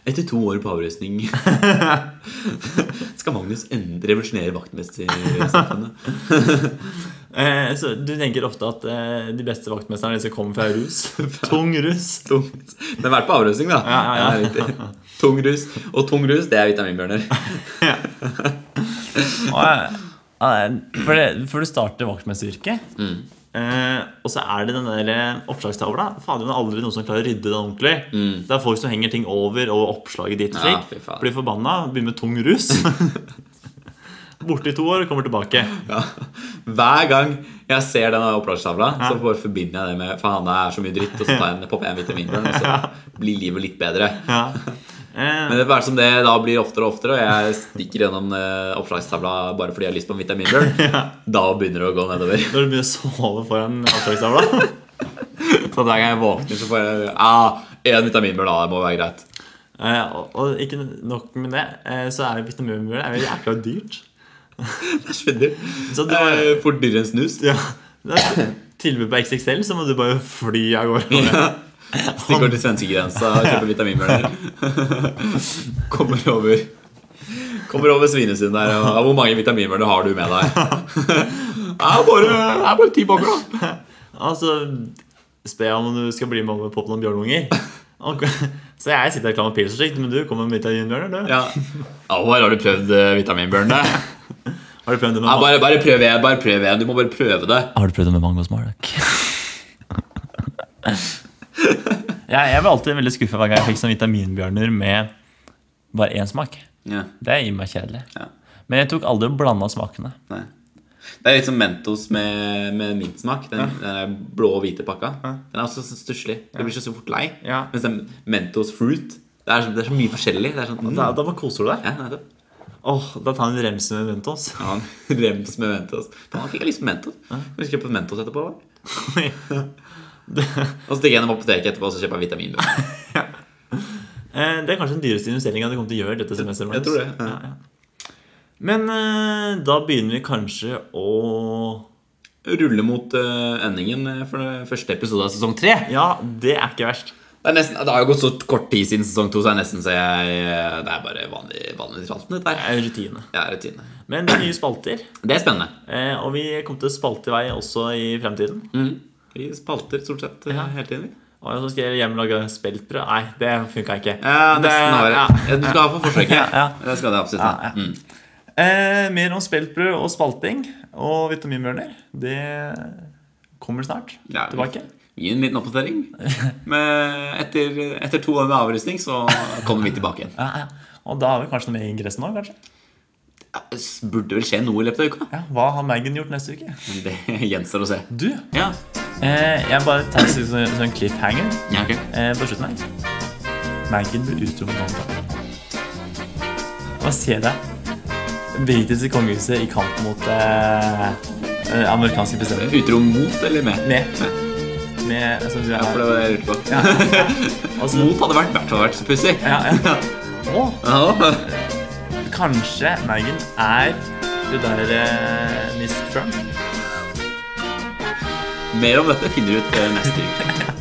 Etter to år på avrøsning skal Magnus endre revolusjonere vaktmestersamfunnet. Eh, så du tenker ofte at eh, de beste vaktmesterne er de som kommer fra rus. Tung rus. Tungt. Men vært på avrøsning, da. Ja, ja, ja. Det er viktig. Tung rus. Og tung rus, det er vitaminbjørner. For, det, for du starter vaktmesteryrket, Mm. eh, og så er det den der eh, oppslagstavla. Fader, det er aldri noen som klarer å rydde den ordentlig. Det er folk som henger ting over, og oppslaget ditt Mm. Ja, slik. fy faen. blir forbanna, begynner med tung rus. Borte i to år, kommer tilbake. Ja. Hver gang jeg ser denne opplagstavla, så bare forbinder jeg det med Faen, det er så mye dritt, og så tar jeg en, popper jeg en vitaminbjørn, og så blir livet litt bedre. Ja. Eh, Men det er bare som det da blir oftere og oftere, og jeg stikker gjennom eh, oppslagstavla bare fordi jeg har lyst på en vitaminbjørn, da begynner det å gå nedover. når du begynner å sove foran oppslagstavla. Så hver gang jeg våkner, så får jeg ah, en vitaminbjørn, da. Det må være greit. Eh, og, og ikke nok med det, eh, så er vitaminmjøl er jo jækla dyrt. Det skjønner du. Så det var, Eh, For dyrere enn snus. ja, det er tilbud på XXL, så må du bare fly av gårde. Stikker til svenskegrensa og kjøper vitaminbjørner. Kommer over Kommer over Svinesund der. Og, «Ja, hvor mange vitaminbjørner har du med deg? Det er bare, det er bare ti pakker, da. Altså, spe om du skal bli med over på noen bjørnunger. Ok, Så jeg sitter og klammer pils og slikt, men du kommer med vitaminbjørner, du. Ja. Alvar, har du prøvd eh, vitaminbjørnene? Har du prøvd det med Ja, mango? bare, bare prøv igjen. bare prøv igjen. Du må bare prøve det. Har du prøvd det med mango smalak? jeg, jeg var alltid veldig skuffa hver gang jeg fikk sånne vitaminbjørner med bare én smak. Ja. Det gir meg kjedelig. Ja. Men jeg tok aldri og blanda smakene. Nei. Det er litt som Mentos med, med mintsmak. Den, den der blå og hvite pakka. Den er også så stusslig. Du blir så fort lei. Ja. Mens den Mentos fruit Det er, så- det er så mye forskjellig. Det er sånn, mm. Da, da bare koser du deg. Ja, nettopp. Åh, Da tar jeg en remse med Mentos. Ja, han rems med Mentos. Faen, han fikk jeg lyst på Mentos. Skal vi kjøpe Mentos etterpå? Eller? Og så stikker jeg gjennom apoteket etterpå og så kjøper jeg vitamin. Eh, Det er kanskje den dyreste investeringa du kommer til å gjøre dette semesteret. Jeg Magnus. tror det. Ja. Men eh, da begynner vi kanskje å Rulle mot eh, endingen eh, for den første episode av sesong tre. Ja, det er ikke verst. Det, er nesten, det har jo gått så kort tid siden sesong to, så jeg nesten så jeg, eh, det er bare vanlig, vanlig tralten. dette Det her. er rutine. Det er rutine. Men det er nye spalter, Det er spennende. eh, og vi kommer til å spalte i vei også i fremtiden. Vi spalter stort sett eh, hele tiden. vi. Og så skal jeg hjem og lage speltbrød. Nei, det funka ikke. Ja, Det- nesten har ja. jeg. Du skal ha for forsøket. Ja, Det skal du absolutt ha. Mm. Eh, mer om speltbrød og spalting og vitaminbjørner. Det kommer snart Ja, vi- tilbake. Gi en liten oppdatering. Men etter, etter to år med avrustning så kommer vi tilbake igjen. Ja, ja. Og da har vi kanskje noe med i ingressen òg, kanskje. Ja, det burde vel skje noe i løpet av uka? Ja, hva har Megan gjort neste uke? Men det gjenstår å se. Du, Ja, eh, jeg bare tar en sånn, sånn cliffhanger ja ok. eh, på slutten her. Megan ble utro med Donald. Hva sier det? Britisk kongehuset i kamp mot eh, eh, amerikanske presidenten. Utro mot eller med? Med. Med altså, du er Ja, for det var det jeg lurte på. altså, Mot hadde vært i hvert fall vært så pussig. Ja, ja. Og Ja. kanskje Megan er det der eh, Miss Trump. Mer om dette finner du ut eh, neste uke.